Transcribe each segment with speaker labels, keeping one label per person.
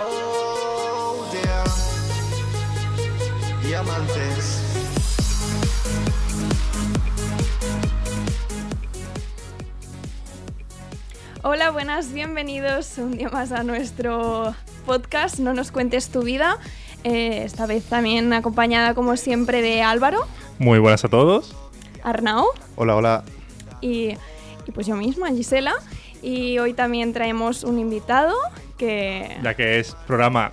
Speaker 1: Oh, yeah. Diamantes.
Speaker 2: Hola, buenas, bienvenidos un día más a nuestro podcast No nos cuentes tu vida. Eh, esta vez también acompañada como siempre de Álvaro,
Speaker 3: Muy buenas a todos.
Speaker 2: Arnau
Speaker 4: Hola, hola.
Speaker 2: y, y pues yo misma, Gisela. Y hoy también traemos un invitado que...
Speaker 3: Ya que es programa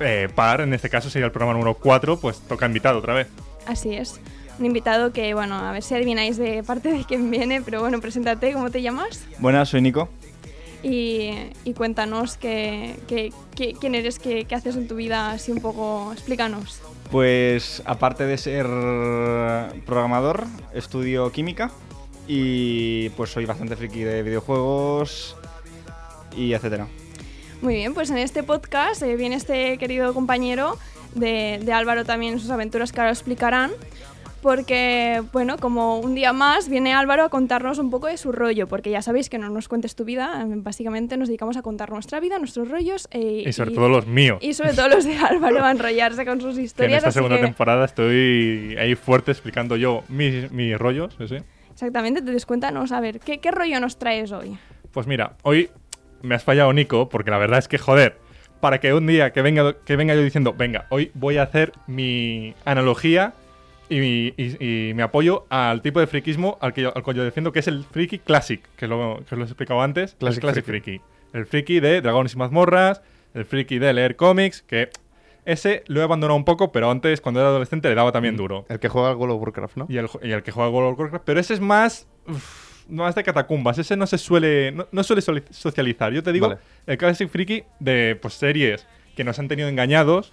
Speaker 3: eh, par, en este caso sería el programa número 4, pues toca invitado otra vez.
Speaker 2: Así es. Un invitado que, bueno, a ver si adivináis de parte de quién viene, pero bueno, preséntate, ¿cómo te llamas?
Speaker 4: Buenas, soy Nico.
Speaker 2: Y, y cuéntanos qué- qué- qué- quién eres, qué, qué haces en tu vida, así un poco, explícanos.
Speaker 4: Pues aparte de ser programador, estudio química y pues soy bastante friki de videojuegos y etcétera.
Speaker 2: Muy bien, pues en este podcast eh, viene este querido compañero de, de Álvaro también en sus aventuras que ahora explicarán, porque, bueno, como un día más viene Álvaro a contarnos un poco de su rollo, porque ya sabéis que no nos cuentes tu vida, eh, básicamente nos dedicamos a contar nuestra vida, nuestros rollos eh,
Speaker 3: Y sobre todo los míos.
Speaker 2: y sobre todo los de Álvaro a enrollarse con sus
Speaker 3: que en
Speaker 2: historias.
Speaker 3: esta
Speaker 2: así
Speaker 3: segunda
Speaker 2: que-
Speaker 3: temporada estoy ahí fuerte explicando yo mis, mis rollos. sí, sí.
Speaker 2: Exactamente, entonces cuéntanos, a ver, ¿qué, qué rollo nos traes hoy?
Speaker 3: Pues mira, hoy me has fallado, Nico, porque la verdad es que, joder, para que un día que venga, que venga yo diciendo, venga, hoy voy a hacer mi analogía y mi, y- y mi apoyo al tipo de friquismo al que, yo, al cual yo defiendo, que es el friki classic, que, lo, que os lo he explicado antes,
Speaker 4: Classic
Speaker 3: el classic friki. El friki de dragones y mazmorras, el friki de leer cómics, que ese lo he abandonado un poco, pero antes, cuando era adolescente, le daba también duro.
Speaker 4: El que juega al World of Warcraft, ¿no?
Speaker 3: Y el, y el que juega World of Warcraft. Pero ese es más. uf, más de catacumbas. Ese no se suele. No, no suele soli- socializar. Yo te digo,
Speaker 4: Vale.
Speaker 3: el Classic Friki de pues, series que nos han tenido engañados,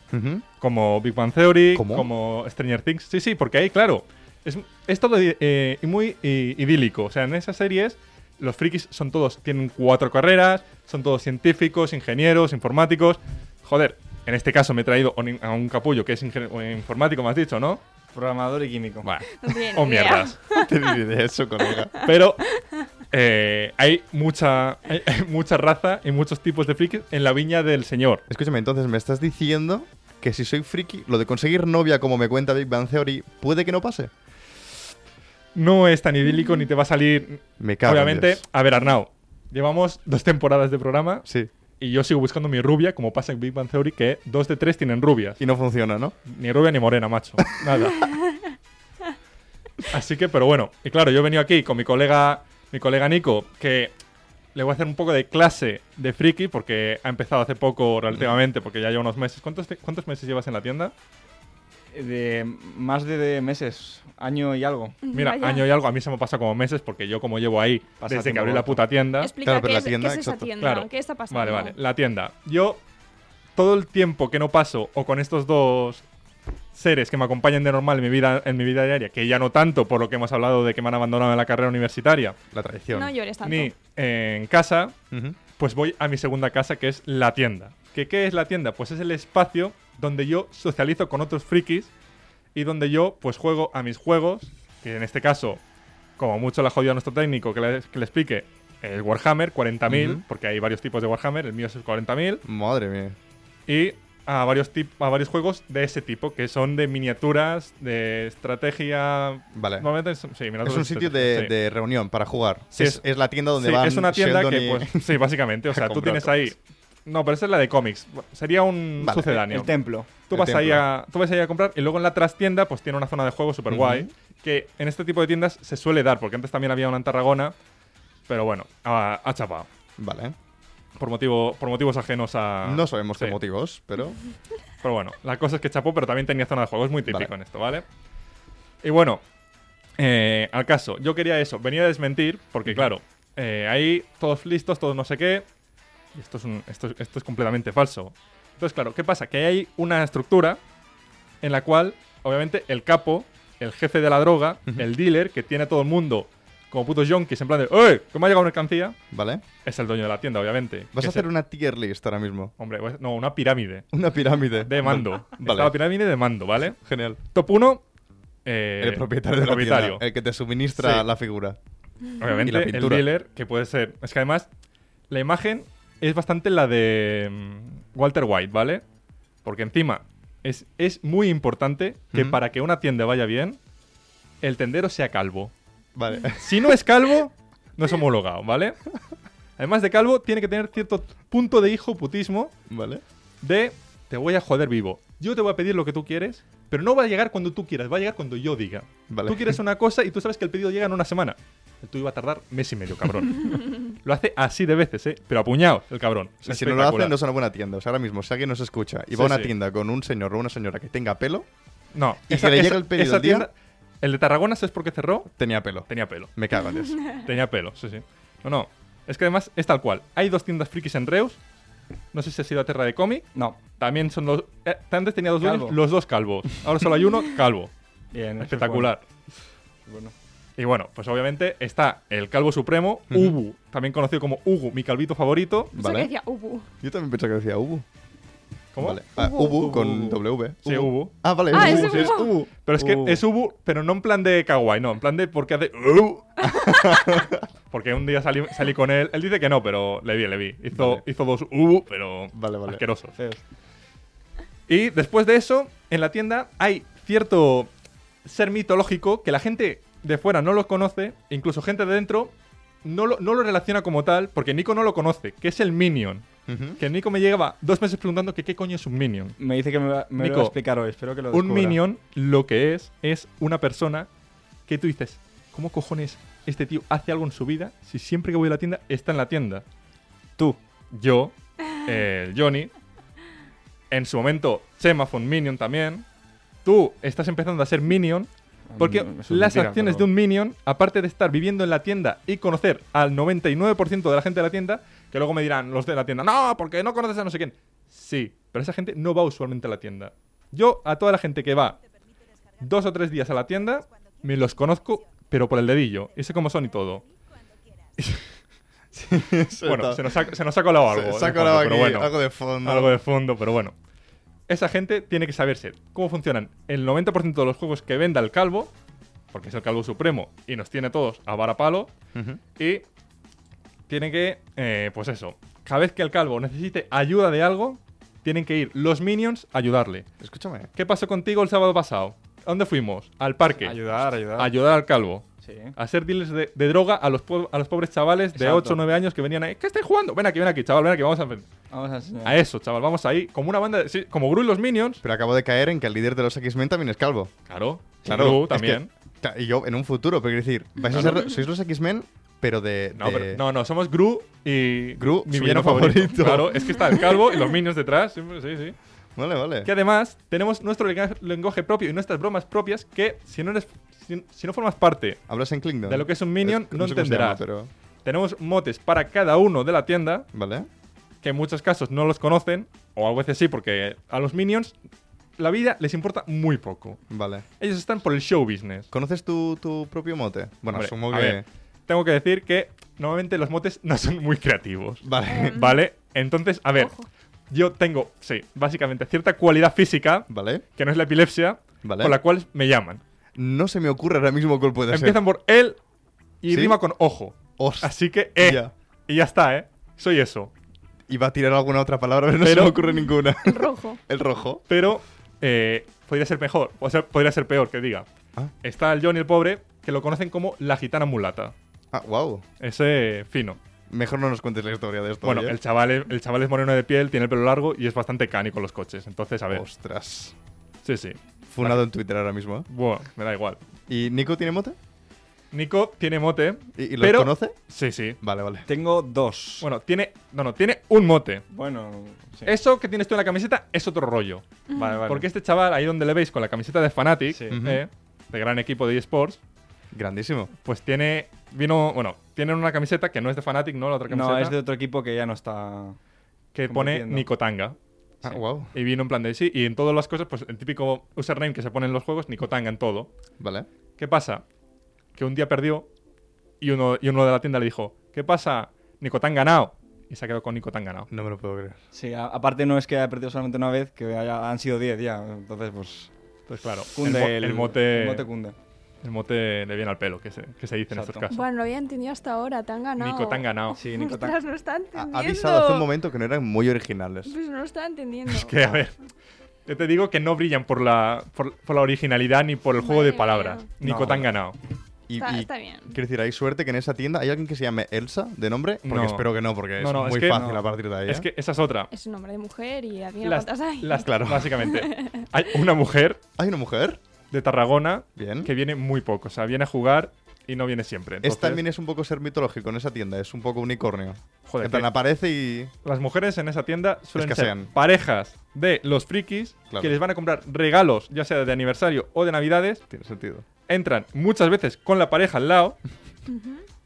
Speaker 3: como Big Bang Theory,
Speaker 4: ¿Cómo?
Speaker 3: como Stranger Things. Sí, sí, porque ahí, claro. Es, es todo eh, muy i- idílico. O sea, en esas series. Los frikis son todos, tienen cuatro carreras, son todos científicos, ingenieros, informáticos. Joder, en este caso me he traído a un- a un capullo que es ingen- informático, me has dicho, ¿no?
Speaker 4: Programador y químico.
Speaker 3: Bueno,
Speaker 2: No tiene
Speaker 3: o
Speaker 2: ni idea.
Speaker 3: mierdas.
Speaker 4: Te diré de eso, colega.
Speaker 3: Pero eh, hay mucha hay, hay mucha raza y muchos tipos de frikis en la viña del señor.
Speaker 4: Escúchame, entonces me estás diciendo que si soy friki, lo de conseguir novia como me cuenta Big Bang Theory, puede que no pase.
Speaker 3: No es tan idílico ni te va a salir.
Speaker 4: Me cago en
Speaker 3: Obviamente,
Speaker 4: Dios.
Speaker 3: a ver, Arnau, llevamos dos temporadas de programa
Speaker 4: Sí.
Speaker 3: y yo sigo buscando mi rubia, como pasa en Big Bang Theory, que dos de tres tienen rubias.
Speaker 4: Y no funciona, ¿no?
Speaker 3: Ni rubia ni morena, macho. Nada. Así que, pero bueno. Y claro, yo he venido aquí con mi colega, mi colega Nico, que le voy a hacer un poco de clase de friki, porque ha empezado hace poco relativamente, porque ya lleva unos meses. ¿Cuántos, te- cuántos meses llevas en la tienda?
Speaker 4: De más de, meses, año y algo.
Speaker 3: Mira,
Speaker 2: Vaya.
Speaker 3: año y algo. A mí se me pasa como meses, porque yo como llevo ahí
Speaker 4: Pasa
Speaker 3: desde que
Speaker 4: tiempo
Speaker 3: abrí la
Speaker 4: muerto.
Speaker 3: puta tienda.
Speaker 2: Explica
Speaker 4: Claro, pero
Speaker 2: qué,
Speaker 4: la
Speaker 2: es, qué
Speaker 4: tienda,
Speaker 2: es esa
Speaker 4: exacto.
Speaker 2: tienda,
Speaker 3: Claro.
Speaker 2: qué está pasando.
Speaker 3: Vale, vale. La tienda. Yo, todo el tiempo que no paso o con estos dos seres que me acompañan de normal en mi vida, en mi vida diaria, que ya no tanto por lo que hemos hablado de que me han abandonado en la carrera universitaria,
Speaker 4: La traición.
Speaker 2: No llores tanto.
Speaker 3: ni en casa,
Speaker 4: Ujú.
Speaker 3: pues voy a mi segunda casa que es la tienda. ¿Que, ¿Qué es la tienda? Pues es el espacio donde yo socializo con otros frikis y donde yo pues juego a mis juegos, que en este caso, como mucho la jodida a nuestro técnico que le, que le explique, el Warhammer 40.000,
Speaker 4: Ujú.
Speaker 3: porque hay varios tipos de Warhammer, el mío es el 40.000
Speaker 4: Madre mía.
Speaker 3: y a varios, tip- a varios juegos de ese tipo, que son de miniaturas, de estrategia...
Speaker 4: Vale.
Speaker 3: Normalmente son- sí,
Speaker 4: Es
Speaker 3: miniaturas
Speaker 4: un sitio
Speaker 3: estrategia,
Speaker 4: de,
Speaker 3: sí.
Speaker 4: de reunión para jugar.
Speaker 3: Sí,
Speaker 4: es,
Speaker 3: es-
Speaker 4: es la tienda donde
Speaker 3: Sí,
Speaker 4: van
Speaker 3: es una tienda
Speaker 4: Sheldon
Speaker 3: que,
Speaker 4: y-
Speaker 3: pues, sí, básicamente. O
Speaker 4: a
Speaker 3: sea, tú
Speaker 4: comprar
Speaker 3: tienes ahí.
Speaker 4: cómics.
Speaker 3: No, pero esa es la de cómics. Sería un
Speaker 4: Vale,
Speaker 3: sucedáneo.
Speaker 5: templo.
Speaker 3: Tú
Speaker 4: el
Speaker 3: vas, ahí
Speaker 4: templo.
Speaker 3: a, tú vas ahí a comprar y luego en la trastienda pues tiene una zona de juego súper guay que en este tipo de tiendas se suele dar porque antes también había una en Tarragona pero bueno ha, ha chapado
Speaker 4: Vale.
Speaker 3: por, motivo, por motivos ajenos a...
Speaker 4: no sabemos qué
Speaker 3: Ah. Sí.
Speaker 4: motivos, pero.
Speaker 3: Pero bueno, la cosa es que chapó, pero también tenía zona de juego. Es muy típico
Speaker 4: Vale.
Speaker 3: en esto, ¿vale? Y bueno, eh, al caso, yo quería eso. Venía a desmentir, porque claro, eh, ahí todos listos, todos no sé qué. Y esto es, un- esto, es- esto es completamente falso. Entonces, claro, ¿qué pasa? Que hay una estructura en la cual, obviamente, el capo, el jefe de la droga, el dealer, que tiene a todo el mundo como putos yonkis, en plan de, ¡Ey! ¿Cómo ha llegado mercancía?
Speaker 5: ¿Vale?
Speaker 3: Es el dueño de la tienda, obviamente.
Speaker 5: Vas
Speaker 3: que
Speaker 5: a
Speaker 3: se-
Speaker 5: hacer una tier list ahora mismo.
Speaker 3: Hombre, pues- no, una pirámide
Speaker 5: Una pirámide.
Speaker 3: de mando.
Speaker 5: Vale.
Speaker 3: Está la pirámide de mando, ¿vale?
Speaker 5: Genial.
Speaker 3: Top 1, eh,
Speaker 5: El propietario
Speaker 3: el
Speaker 5: de la tienda,
Speaker 3: propietario.
Speaker 5: el que te suministra
Speaker 3: Sí.
Speaker 5: la figura.
Speaker 3: Obviamente,
Speaker 5: Y la
Speaker 3: el
Speaker 5: pintura.
Speaker 3: dealer, que puede ser. Es que además, la imagen es bastante la de mm, Walter White, ¿vale? Porque encima, es, es muy importante que
Speaker 5: Ujú.
Speaker 3: para que una tienda vaya bien, el tendero sea calvo.
Speaker 5: Vale.
Speaker 3: Si no es calvo, no es homologado, ¿¿vale? Además de calvo, tiene que tener cierto punto de hijo putismo
Speaker 5: vale.
Speaker 3: de te voy a joder vivo. Yo te voy a pedir lo que tú quieres, pero no va a llegar cuando tú quieras, va a llegar cuando yo diga.
Speaker 5: Vale.
Speaker 3: Tú quieres una cosa y tú sabes que el pedido llega en una semana. El tuyo va a tardar mes y medio, cabrón. lo hace así de veces, ¿eh? Pero apuñado, el cabrón.
Speaker 5: O sea, si no lo hacen,
Speaker 3: Espectacular.
Speaker 5: no es una buena tienda. O sea, ahora mismo, si alguien nos escucha y
Speaker 3: Sí,
Speaker 5: va a una
Speaker 3: sí.
Speaker 5: tienda con un señor o una señora que tenga pelo,
Speaker 3: No.
Speaker 5: y que le llegue el pedido
Speaker 3: esa
Speaker 5: al día-
Speaker 3: tienda- El de Tarragona, ¿sabes por qué cerró?
Speaker 5: tenía pelo.
Speaker 3: Tenía pelo.
Speaker 5: Me cago en Dios.
Speaker 3: Tenía pelo, sí, sí. No, no. Es que además es tal cual. Hay dos tiendas frikis en Reus. No sé si ha sido a Terra de Cómic.
Speaker 4: No.
Speaker 3: También son los. eh, antes tenía dos dueños,
Speaker 4: Calvo.
Speaker 3: los dos calvos. Ahora solo hay uno calvo.
Speaker 4: Bien, eso es
Speaker 3: Espectacular.
Speaker 4: bueno.
Speaker 3: Y bueno, pues obviamente está el calvo supremo,
Speaker 5: Ujú.
Speaker 3: Ubu, también conocido como Ugu, mi calvito favorito.
Speaker 2: Eso que
Speaker 5: Vale.
Speaker 2: decía Ubu.
Speaker 5: Yo también pensaba que decía Ubu.
Speaker 3: ¿Cómo?
Speaker 5: Vale. Ah,
Speaker 2: Ubu.
Speaker 5: Ubu con
Speaker 3: Ubu.
Speaker 5: W.
Speaker 3: Sí, Ubu.
Speaker 5: Ah, vale.
Speaker 2: Ah, es
Speaker 5: sí,
Speaker 2: Ubu.
Speaker 4: Uh,
Speaker 3: Pero es que
Speaker 4: Ubu.
Speaker 3: es Ubu, pero no en plan de kawaii, no, en plan de porque hace "Ubu". porque un día salí, salí con él, él dice que no, pero le vi, le vi. Hizo,
Speaker 5: Vale.
Speaker 3: hizo dos Ubu, pero
Speaker 5: Vale, vale.
Speaker 3: asquerosos.
Speaker 4: Feos.
Speaker 3: Y después de eso, en la tienda hay cierto ser mitológico que la gente de fuera no lo conoce, incluso gente de dentro no lo, no lo relaciona como tal, porque Nico no lo conoce, que es el Minion.
Speaker 5: Ujú.
Speaker 3: Que Nico me lleva dos meses preguntando que qué coño es un Minion.
Speaker 4: Me dice que me, va- me lo va
Speaker 3: Nico,
Speaker 4: a explicar hoy. Espero que lo
Speaker 3: Un
Speaker 4: descubra.
Speaker 3: Minion lo que es es una persona que tú dices, ¿cómo cojones este tío hace algo en su vida si siempre que voy a la tienda está en la tienda?
Speaker 4: Tú.
Speaker 3: yo, eh, Johnny, en su momento Chema fue un minion también. Tú estás empezando a ser minion porque
Speaker 4: Mm, eso es
Speaker 3: las
Speaker 4: mentira,
Speaker 3: acciones de
Speaker 4: pero-
Speaker 3: un minion, aparte de estar viviendo en la tienda y conocer al 99% de la gente de la tienda, que luego me dirán los de la tienda, no, porque no conoces a no sé quién. Sí, pero esa gente no va usualmente a la tienda. Yo a toda la gente que va dos o tres días a la tienda, me los conozco, pero por el dedillo. Y sé cómo son y todo. Bueno, se nos ha, se nos ha colado algo. de
Speaker 5: Saco
Speaker 3: fondo,
Speaker 5: algo
Speaker 3: pero
Speaker 5: aquí,
Speaker 3: bueno.
Speaker 5: algo de fondo.
Speaker 3: Algo de fondo, pero bueno. Esa gente tiene que saberse cómo funcionan el 90% de los juegos que venda el calvo, porque es el calvo supremo y nos tiene a todos a varapalo,
Speaker 5: Ujú.
Speaker 3: y tiene que, eh, pues eso, cada vez que el calvo necesite ayuda de algo, tienen que ir los minions a ayudarle.
Speaker 5: Escúchame.
Speaker 3: ¿Qué pasó contigo el sábado pasado? ¿A dónde fuimos? Al parque.
Speaker 4: Ayudar, ayudar.
Speaker 3: A ayudar al calvo.
Speaker 4: Sí.
Speaker 3: A ser dealers de, de droga a los, po- a los pobres chavales de
Speaker 4: Exacto.
Speaker 3: 8 o 9 años que venían ahí. ¿Qué estáis jugando? Ven aquí, ven aquí, chaval, ven aquí, vamos a enfrentar.
Speaker 4: Vamos a enseñar.
Speaker 3: A eso, chaval, vamos ahí. Como una banda. de- sí, como Gru y los Minions.
Speaker 5: Pero acabo de caer en que el líder de los X-Men también es calvo.
Speaker 3: Claro,
Speaker 5: Claro.
Speaker 3: Gru
Speaker 5: es
Speaker 3: también.
Speaker 5: que- claro, y yo en un futuro, pero quiero decir, vais a ser, sois los X-Men, pero de.
Speaker 3: No,
Speaker 5: de-
Speaker 3: pero, no, no, somos Gru y.
Speaker 5: Gru,
Speaker 3: mi
Speaker 5: su
Speaker 3: villano
Speaker 5: villano
Speaker 3: favorito.
Speaker 5: favorito.
Speaker 3: Claro, es que está el calvo y los Minions detrás. Sí, sí, sí.
Speaker 5: Vale, vale.
Speaker 3: Que además tenemos nuestro lenga- lenguaje propio y nuestras bromas propias que si no eres. Si, si no formas parte,
Speaker 5: Hablas en Klingon.
Speaker 3: De lo que es un minion, no
Speaker 5: sé cómo se
Speaker 3: entenderás.
Speaker 5: pero-
Speaker 3: tenemos motes para cada uno de la tienda,
Speaker 5: Vale.
Speaker 3: que en muchos casos no los conocen, o a veces sí, porque a los Minions la vida les importa muy poco.
Speaker 5: Vale.
Speaker 3: Ellos están por el show business.
Speaker 5: ¿Conoces tu, tu propio mote? Bueno,
Speaker 3: Hombre,
Speaker 5: asumo
Speaker 3: a
Speaker 5: que.
Speaker 3: ver, tengo que decir que normalmente los motes no son muy creativos.
Speaker 5: Vale.
Speaker 3: ¿Vale? Entonces, a ver,
Speaker 2: Ojo.
Speaker 3: yo tengo, sí, básicamente cierta cualidad física,
Speaker 5: Vale.
Speaker 3: que no es la epilepsia,
Speaker 5: Vale.
Speaker 3: por la cual me llaman.
Speaker 5: No se me ocurre ahora mismo cuál puede
Speaker 3: Empiezan por él y
Speaker 5: ¿Sí?
Speaker 3: rima con ojo.
Speaker 5: ser. Hostia.
Speaker 3: Así que, eh,
Speaker 5: Ya.
Speaker 3: y ya está, ¿eh? Soy eso.
Speaker 5: Iba a tirar alguna otra palabra, pero no se
Speaker 3: Pero-
Speaker 5: me ocurre ninguna.
Speaker 2: El rojo.
Speaker 5: El rojo.
Speaker 3: Pero eh, podría ser mejor, o sea, podría ser peor que diga.
Speaker 5: Ah.
Speaker 3: Está el Johnny el pobre, que lo conocen como la gitana mulata.
Speaker 5: Ah, wow.
Speaker 3: Ese fino.
Speaker 5: Mejor no nos cuentes la historia de esto.
Speaker 3: Bueno,
Speaker 5: oye.
Speaker 3: el chaval, es, el chaval es moreno de piel, tiene el pelo largo y es bastante cani con los coches. Entonces, a ver.
Speaker 5: Ostras.
Speaker 3: Sí, sí.
Speaker 5: Funado en Twitter ahora mismo. ¿eh?
Speaker 3: Bueno, me da igual.
Speaker 5: ¿Y Nico tiene mote?
Speaker 3: Nico tiene mote.
Speaker 5: ¿Y, y lo
Speaker 3: pero...
Speaker 5: conoce?
Speaker 3: Sí, sí.
Speaker 5: Vale, vale.
Speaker 4: Tengo dos.
Speaker 3: Bueno, tiene. No, no, tiene un mote.
Speaker 4: Bueno, sí.
Speaker 3: Eso que tienes tú en la camiseta es otro rollo.
Speaker 4: Vale, vale.
Speaker 3: Porque este chaval, ahí donde le veis con la camiseta de Fnatic,
Speaker 4: Sí.
Speaker 3: eh, de gran equipo de eSports,
Speaker 5: Grandísimo.
Speaker 3: pues tiene. Vino. Bueno, tienen una camiseta que no es de Fnatic, no la otra camiseta.
Speaker 4: No, es de otro equipo que ya no está.
Speaker 3: que pone
Speaker 4: compitiendo.
Speaker 3: Nicotanga.
Speaker 5: Ah,
Speaker 3: Sí.
Speaker 5: wow.
Speaker 3: Y vino en plan de sí. Y en todas las cosas, pues el típico username que se pone en los juegos, Nicotanga en todo.
Speaker 5: Vale.
Speaker 3: ¿Qué pasa? Que un día perdió Y uno, y uno de la tienda le dijo, ¿qué pasa? Nico, te han ganado. Y se ha quedado con Nico, te han ganado.
Speaker 5: No me lo puedo creer.
Speaker 4: Sí, a- aparte no es que haya perdido solamente una vez, que haya- han sido 10 ya. Entonces, pues.
Speaker 3: Entonces, claro, el,
Speaker 4: Cunde
Speaker 3: mo- el mote,
Speaker 4: el mote cunde.
Speaker 3: el mote le viene al pelo, que se, que se dice en estos
Speaker 4: Exacto.
Speaker 3: casos.
Speaker 2: Bueno, lo había entendido hasta ahora, te han ganado.
Speaker 3: Nico, te han ganado.
Speaker 4: Sí, Nico Tan-
Speaker 2: Ostras, no está
Speaker 5: Ha
Speaker 2: entendiendo.
Speaker 5: ha avisado hace un momento que no eran muy originales.
Speaker 2: Pues no lo está entendiendo.
Speaker 3: Que a ver, yo te digo que no brillan por la, por, por la originalidad ni por el juego
Speaker 2: Madre
Speaker 3: de palabras.
Speaker 2: mía.
Speaker 3: Nico,
Speaker 4: No.
Speaker 3: te han ganado.
Speaker 5: Y,
Speaker 2: Está,
Speaker 5: y
Speaker 2: está bien.
Speaker 5: quiero decir, hay suerte que en esa tienda hay alguien que se llame Elsa de nombre, porque
Speaker 3: No.
Speaker 5: espero que no, porque
Speaker 3: No, no, es
Speaker 5: es muy
Speaker 3: que-
Speaker 5: fácil
Speaker 3: no.
Speaker 5: a partir de
Speaker 4: ¿Ah,
Speaker 5: ahí.
Speaker 3: Es
Speaker 5: ¿eh?
Speaker 3: que esa es otra.
Speaker 2: Es un hombre de mujer y a mí no
Speaker 3: Las-
Speaker 2: cuentas ahí.
Speaker 3: las-
Speaker 5: Claro.
Speaker 3: Básicamente, hay una mujer
Speaker 5: Hay una mujer.
Speaker 3: de Tarragona
Speaker 5: Bien.
Speaker 3: que viene muy poco. O sea, viene a jugar y no viene siempre.
Speaker 5: Es
Speaker 3: Entonces,
Speaker 5: también es un poco ser mitológico en esa tienda, es un poco unicornio.
Speaker 3: Joder,
Speaker 5: en plan,
Speaker 3: que-
Speaker 5: aparece y.
Speaker 3: Las mujeres en esa tienda suelen
Speaker 5: Escasean.
Speaker 3: ser parejas de los frikis
Speaker 5: Claro.
Speaker 3: que les van a comprar regalos, ya sea de aniversario o de navidades.
Speaker 5: Tiene sentido.
Speaker 3: Entran muchas veces con la pareja al lado,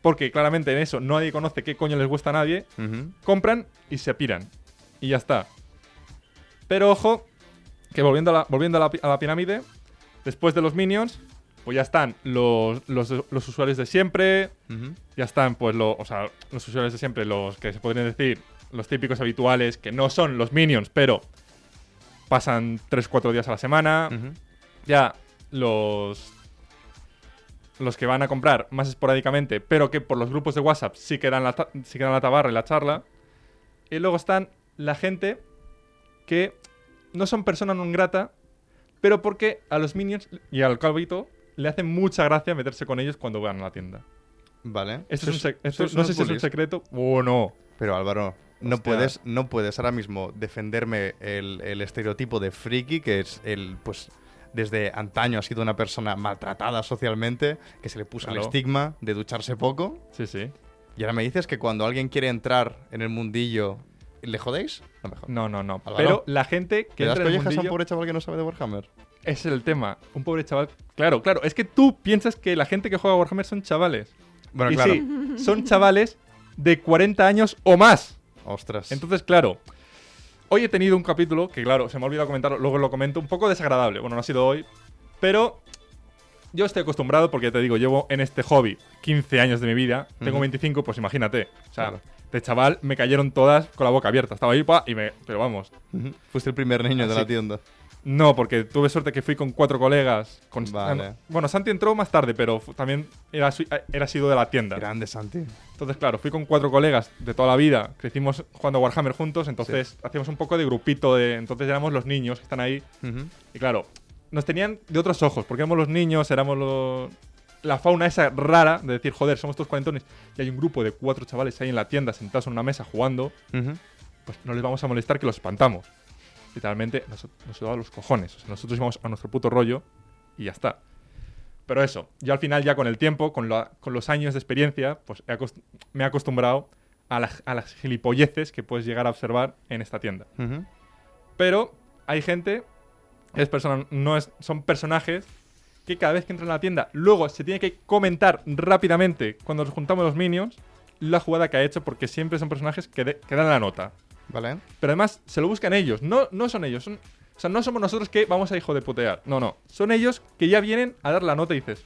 Speaker 3: porque claramente en eso nadie conoce qué coño les gusta a nadie.
Speaker 5: Ujú.
Speaker 3: compran y se piran. Y ya está. Pero ojo, que volviendo a la, volviendo a la, pi- a la pirámide, después de los minions, pues ya están los, los, los usuarios de siempre,
Speaker 5: Ujú.
Speaker 3: ya están pues los, o sea, los usuarios de siempre, los que se podrían decir los típicos habituales, que no son los minions, pero pasan 3-4 días a la semana.
Speaker 5: Ujú.
Speaker 3: Ya los... Los que van a comprar más esporádicamente, pero que por los grupos de WhatsApp sí que dan la, ta- sí que dan la tabarra y la charla. Y luego están la gente que no son persona non grata, pero porque a los minions y al calvito le hacen mucha gracia meterse con ellos cuando van a la tienda.
Speaker 5: Vale.
Speaker 3: Esto es un sec- esto-
Speaker 5: sois
Speaker 3: no
Speaker 5: unos
Speaker 3: sé si es un
Speaker 5: bullies.
Speaker 3: secreto o no.
Speaker 5: Pero Álvaro, no
Speaker 3: Hostia.
Speaker 5: puedes, no puedes ahora mismo defenderme el, el estereotipo de friki, que es el, pues, desde antaño ha sido una persona maltratada socialmente, que se le puso el
Speaker 3: Claro.
Speaker 5: estigma de ducharse poco.
Speaker 3: Sí, sí.
Speaker 5: Y ahora me dices que cuando alguien quiere entrar en el mundillo, ¿le jodéis? No me jodas.
Speaker 3: No, no, no.
Speaker 5: Álvaro,
Speaker 3: Pero la gente que
Speaker 5: ¿Le das
Speaker 3: entra en el
Speaker 5: collejas a un
Speaker 3: mundillo-
Speaker 5: pobre chaval que no sabe de Warhammer?
Speaker 3: es el tema. Un pobre chaval. Claro, claro. Es que tú piensas que la gente que juega a Warhammer son chavales.
Speaker 5: Bueno,
Speaker 3: y
Speaker 5: claro.
Speaker 3: sí, son chavales de 40 años o más.
Speaker 5: Ostras.
Speaker 3: Entonces, claro, hoy he tenido un capítulo que, claro, se me ha olvidado comentarlo, luego lo comento, un poco desagradable. Bueno, no ha sido hoy, pero yo estoy acostumbrado porque ya te digo, llevo en este hobby 15 años de mi vida, tengo
Speaker 5: Ujú.
Speaker 3: 25, pues imagínate. O sea,
Speaker 5: Claro.
Speaker 3: de chaval me cayeron todas con la boca abierta. Estaba ahí, pa, y me. Pero vamos.
Speaker 5: Ujú. Fuiste el primer niño de
Speaker 3: Así-
Speaker 5: la tienda.
Speaker 3: No, porque tuve suerte que fui con cuatro colegas. Con
Speaker 5: Vale.
Speaker 3: Bueno, Santi entró más tarde, pero fu- también era, su- era sido de la tienda.
Speaker 5: Grande, Santi.
Speaker 3: Entonces, claro, fui con cuatro colegas de toda la vida. Crecimos jugando a Warhammer juntos, entonces hacíamos un poco de grupito. De, entonces éramos los niños que están ahí.
Speaker 5: Ujú.
Speaker 3: Y claro, nos tenían de otros ojos, porque éramos los niños, éramos los- la fauna esa rara de decir, joder, somos estos cuarentones. Y hay un grupo de cuatro chavales ahí en la tienda sentados en una mesa jugando.
Speaker 5: Ujú.
Speaker 3: Pues no les vamos a molestar que los espantamos. Literalmente nos, nos daba los cojones. O sea, nosotros íbamos a nuestro puto rollo y ya está. Pero eso, yo al final ya con el tiempo, con, la- con los años de experiencia, pues he acost- me he acostumbrado a, la- a las gilipolleces que puedes llegar a observar en esta tienda.
Speaker 5: Ujú.
Speaker 3: Pero hay gente, es persona, no es, son personajes que cada vez que entran a la tienda, luego se tiene que comentar rápidamente cuando nos juntamos los minions la jugada que ha hecho, porque siempre son personajes que, de- que dan la nota.
Speaker 5: Vale.
Speaker 3: Pero además se lo buscan ellos, no, no son ellos. Son, o sea, no somos nosotros que vamos a hijo de putear. No, no. Son ellos que ya vienen a dar la nota y dices,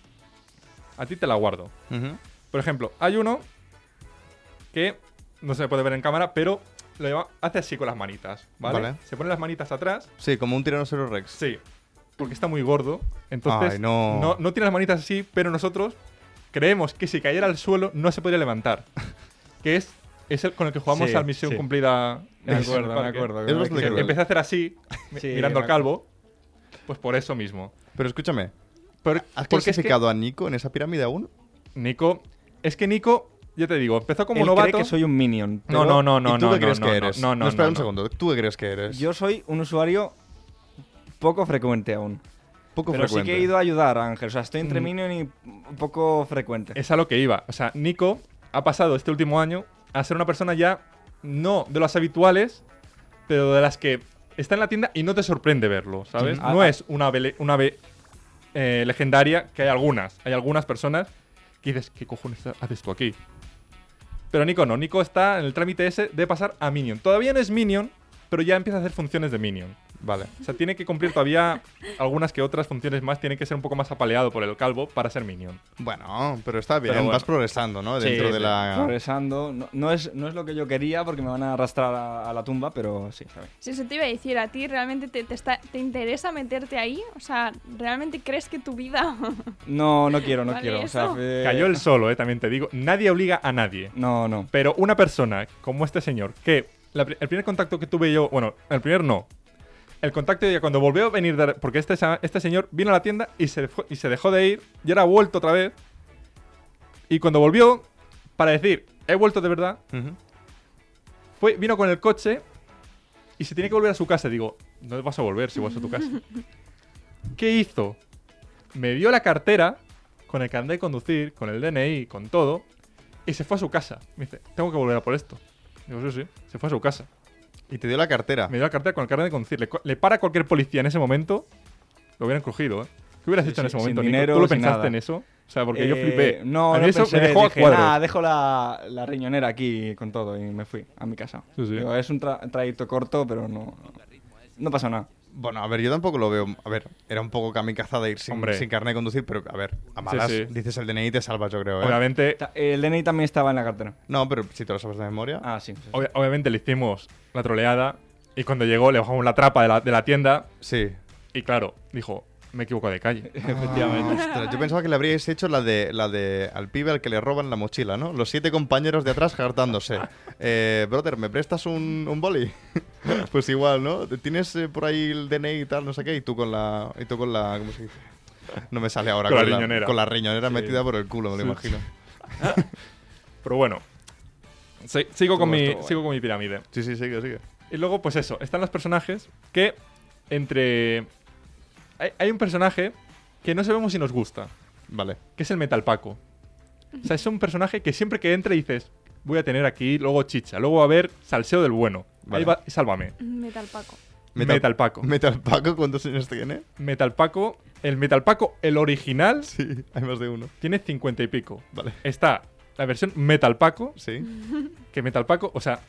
Speaker 3: a ti te la guardo.
Speaker 5: Ujú.
Speaker 3: Por ejemplo, hay uno que no se puede ver en cámara, pero lo lleva, hace así con las manitas, ¿vale?
Speaker 5: Vale.
Speaker 3: Se pone las manitas atrás,
Speaker 5: Sí, como un tiranosaurio rex.
Speaker 3: sí, porque está muy gordo. Entonces,
Speaker 5: Ay, no.
Speaker 3: No, no tiene las manitas así, pero nosotros creemos que si cayera al suelo no se podría levantar. que es, es el con el que jugamos
Speaker 4: Sí,
Speaker 3: a la misión
Speaker 4: sí.
Speaker 3: cumplida. en
Speaker 4: Me
Speaker 3: el
Speaker 4: acuerdo, me
Speaker 3: parque.
Speaker 4: acuerdo.
Speaker 5: Es
Speaker 4: que me-
Speaker 5: bastante
Speaker 4: que-
Speaker 5: cruel.
Speaker 3: Em, Empecé a hacer así, mi-
Speaker 4: Sí,
Speaker 3: mirando al
Speaker 4: me acuerdo.
Speaker 3: calvo. Pues por eso mismo.
Speaker 5: Pero escúchame,
Speaker 3: Pero-
Speaker 5: ¿has
Speaker 3: porque es que
Speaker 5: clasificado a Nico en esa pirámide aún?
Speaker 3: Nico, es que Nico, ya te digo, empezó como
Speaker 4: Él
Speaker 3: novato.
Speaker 4: cree que soy un minion.
Speaker 3: No,
Speaker 4: pero
Speaker 3: no, no,
Speaker 5: ¿Y
Speaker 3: no,
Speaker 5: tú
Speaker 3: no,
Speaker 5: qué
Speaker 3: no,
Speaker 5: crees
Speaker 3: no,
Speaker 5: que
Speaker 3: no,
Speaker 5: eres?
Speaker 3: no, no,
Speaker 5: espera un
Speaker 3: no.
Speaker 5: segundo. ¿Tú qué crees que eres?
Speaker 4: Yo soy un usuario poco frecuente aún.
Speaker 5: poco
Speaker 4: Pero sí
Speaker 5: frecuente.
Speaker 4: que he ido a ayudar, Ángel. O sea, estoy entre
Speaker 3: Mm.
Speaker 4: minion y un poco frecuente.
Speaker 3: Es a lo que iba. O sea, Nico ha pasado este último año a ser una persona ya no de las habituales, pero de las que está en la tienda y no te sorprende verlo, ¿sabes?
Speaker 4: Ujú.
Speaker 3: No
Speaker 4: Ah, ah.
Speaker 3: es una ave, una ave eh, legendaria, que hay algunas. Hay algunas personas que dices, ¿qué cojones haces tú aquí? Pero Nico no, Nico está en el trámite ese de pasar a Minion. Todavía no es Minion, pero ya empieza a hacer funciones de Minion.
Speaker 5: Vale.
Speaker 3: O sea, tiene que cumplir todavía algunas que otras funciones más. Tiene que ser un poco más apaleado por el calvo para ser minion.
Speaker 5: Bueno, pero está bien,
Speaker 3: Pero bueno.
Speaker 5: vas progresando, ¿no? Dentro
Speaker 4: Sí,
Speaker 5: de
Speaker 4: sí.
Speaker 3: Ah.
Speaker 5: la...
Speaker 4: Progresando. No, no es, no es lo que yo quería porque me van a arrastrar a, a la tumba, pero sí, está bien.
Speaker 2: Si eso te iba a decir, ¿a ti realmente te, te está- te interesa meterte ahí? O sea, ¿realmente crees que tu vida...
Speaker 4: No, no quiero, no
Speaker 2: Vale,
Speaker 4: quiero. O sea,
Speaker 2: eso.
Speaker 4: fe-
Speaker 3: Cayó el solo, eh, también te digo. Nadie obliga a nadie.
Speaker 4: No, no.
Speaker 3: Pero una persona como este señor, que la pri- el primer contacto que tuve yo, bueno, el primer no. El contacto ya cuando volvió a venir, de- porque este, sa- este señor vino a la tienda y se, fue- y se dejó de ir, y ahora ha vuelto otra vez. Y cuando volvió, para decir, he vuelto de verdad,
Speaker 5: Ujú.
Speaker 3: fue, vino con el coche y se tiene que volver a su casa. Digo, no vas a volver si vas a tu casa. ¿Qué hizo? Me dio la cartera con el carnet de conducir, con el DNI, con todo, y se fue a su casa. Me dice, tengo que volver a por esto. Digo, sí, sí. Se fue a su casa.
Speaker 5: Y te dio la
Speaker 4: Ah.
Speaker 5: cartera.
Speaker 3: Me dio la cartera con el carnet de conducir. Le, co- le para cualquier policía en ese momento, lo hubieran cogido, ¿eh? ¿Qué hubieras
Speaker 4: Sí,
Speaker 3: hecho en
Speaker 4: sí,
Speaker 3: ese
Speaker 4: sin
Speaker 3: momento, Nico?
Speaker 4: dinero,
Speaker 3: ¿Tú lo
Speaker 4: sin
Speaker 3: pensaste
Speaker 4: nada.
Speaker 3: en eso? O sea, porque yo
Speaker 4: Eh,
Speaker 3: flipé.
Speaker 4: No,
Speaker 3: a mí
Speaker 4: no
Speaker 3: eso
Speaker 4: pensé,
Speaker 3: me dejó a
Speaker 4: dije,
Speaker 3: cuadros.
Speaker 4: "Nah, dejo la, la riñonera aquí con todo y me fui a mi casa.
Speaker 3: Sí, sí.
Speaker 4: Digo, es un tra- trayecto corto, pero no, no pasa nada.
Speaker 5: Bueno, a ver, yo tampoco lo veo. A ver, era un poco kamikaze de ir sin,
Speaker 3: Hombre.
Speaker 5: sin carnet de conducir, pero a ver, a malas
Speaker 3: sí.
Speaker 5: dices el DNI y te salvas, yo creo. ¿eh?
Speaker 3: Obviamente,
Speaker 4: Ta- El DNI también estaba en la cartera.
Speaker 5: No, pero si te lo sabes de memoria.
Speaker 4: Ah, sí. sí, sí.
Speaker 3: Obvia- obviamente le hicimos la troleada y cuando llegó le bajamos la trapa de la, de la tienda
Speaker 5: Sí.
Speaker 3: y claro, dijo, me equivoco de calle.
Speaker 4: Efectivamente.
Speaker 5: Ostras, yo pensaba que le habríais hecho la de la de al pibe al que le roban la mochila, ¿no? Los siete compañeros de atrás jartándose. Eh, brother, ¿me prestas un, un boli? pues igual, ¿no? Tienes eh, por ahí el DNI y tal, no sé qué, y tú con la. Y tú con la. ¿Cómo se dice? No me sale ahora
Speaker 3: Con la
Speaker 5: con, la,
Speaker 3: riñonera.
Speaker 5: con la riñonera
Speaker 3: Sí.
Speaker 5: metida por el culo, me lo
Speaker 3: Sí.
Speaker 5: imagino.
Speaker 3: Pero bueno, se- sigo, con
Speaker 5: Estuvo-
Speaker 3: mi,
Speaker 5: estuvo
Speaker 3: sigo con mi pirámide.
Speaker 5: Sí, sí, sigue, sigue.
Speaker 3: Y luego, pues eso, están los personajes que entre... Hay, hay un personaje que no sabemos si nos gusta,
Speaker 5: Vale.
Speaker 3: que es el Metalpaco. O sea, es un personaje que siempre que entra dices, voy a tener aquí, luego chicha, luego va a haber salseo del bueno.
Speaker 5: Vale.
Speaker 3: Ahí va, sálvame.
Speaker 2: Metal Paco.
Speaker 3: Metalpaco.
Speaker 5: Metalpaco, ¿cuántos años tiene?
Speaker 3: Metalpaco, el Metalpaco, el original,
Speaker 5: Sí, hay más de uno.
Speaker 3: tiene 50 y pico.
Speaker 5: Vale.
Speaker 3: Está la versión Metal Paco,
Speaker 2: Mm,
Speaker 5: Sí.
Speaker 3: que Metal Paco, o sea,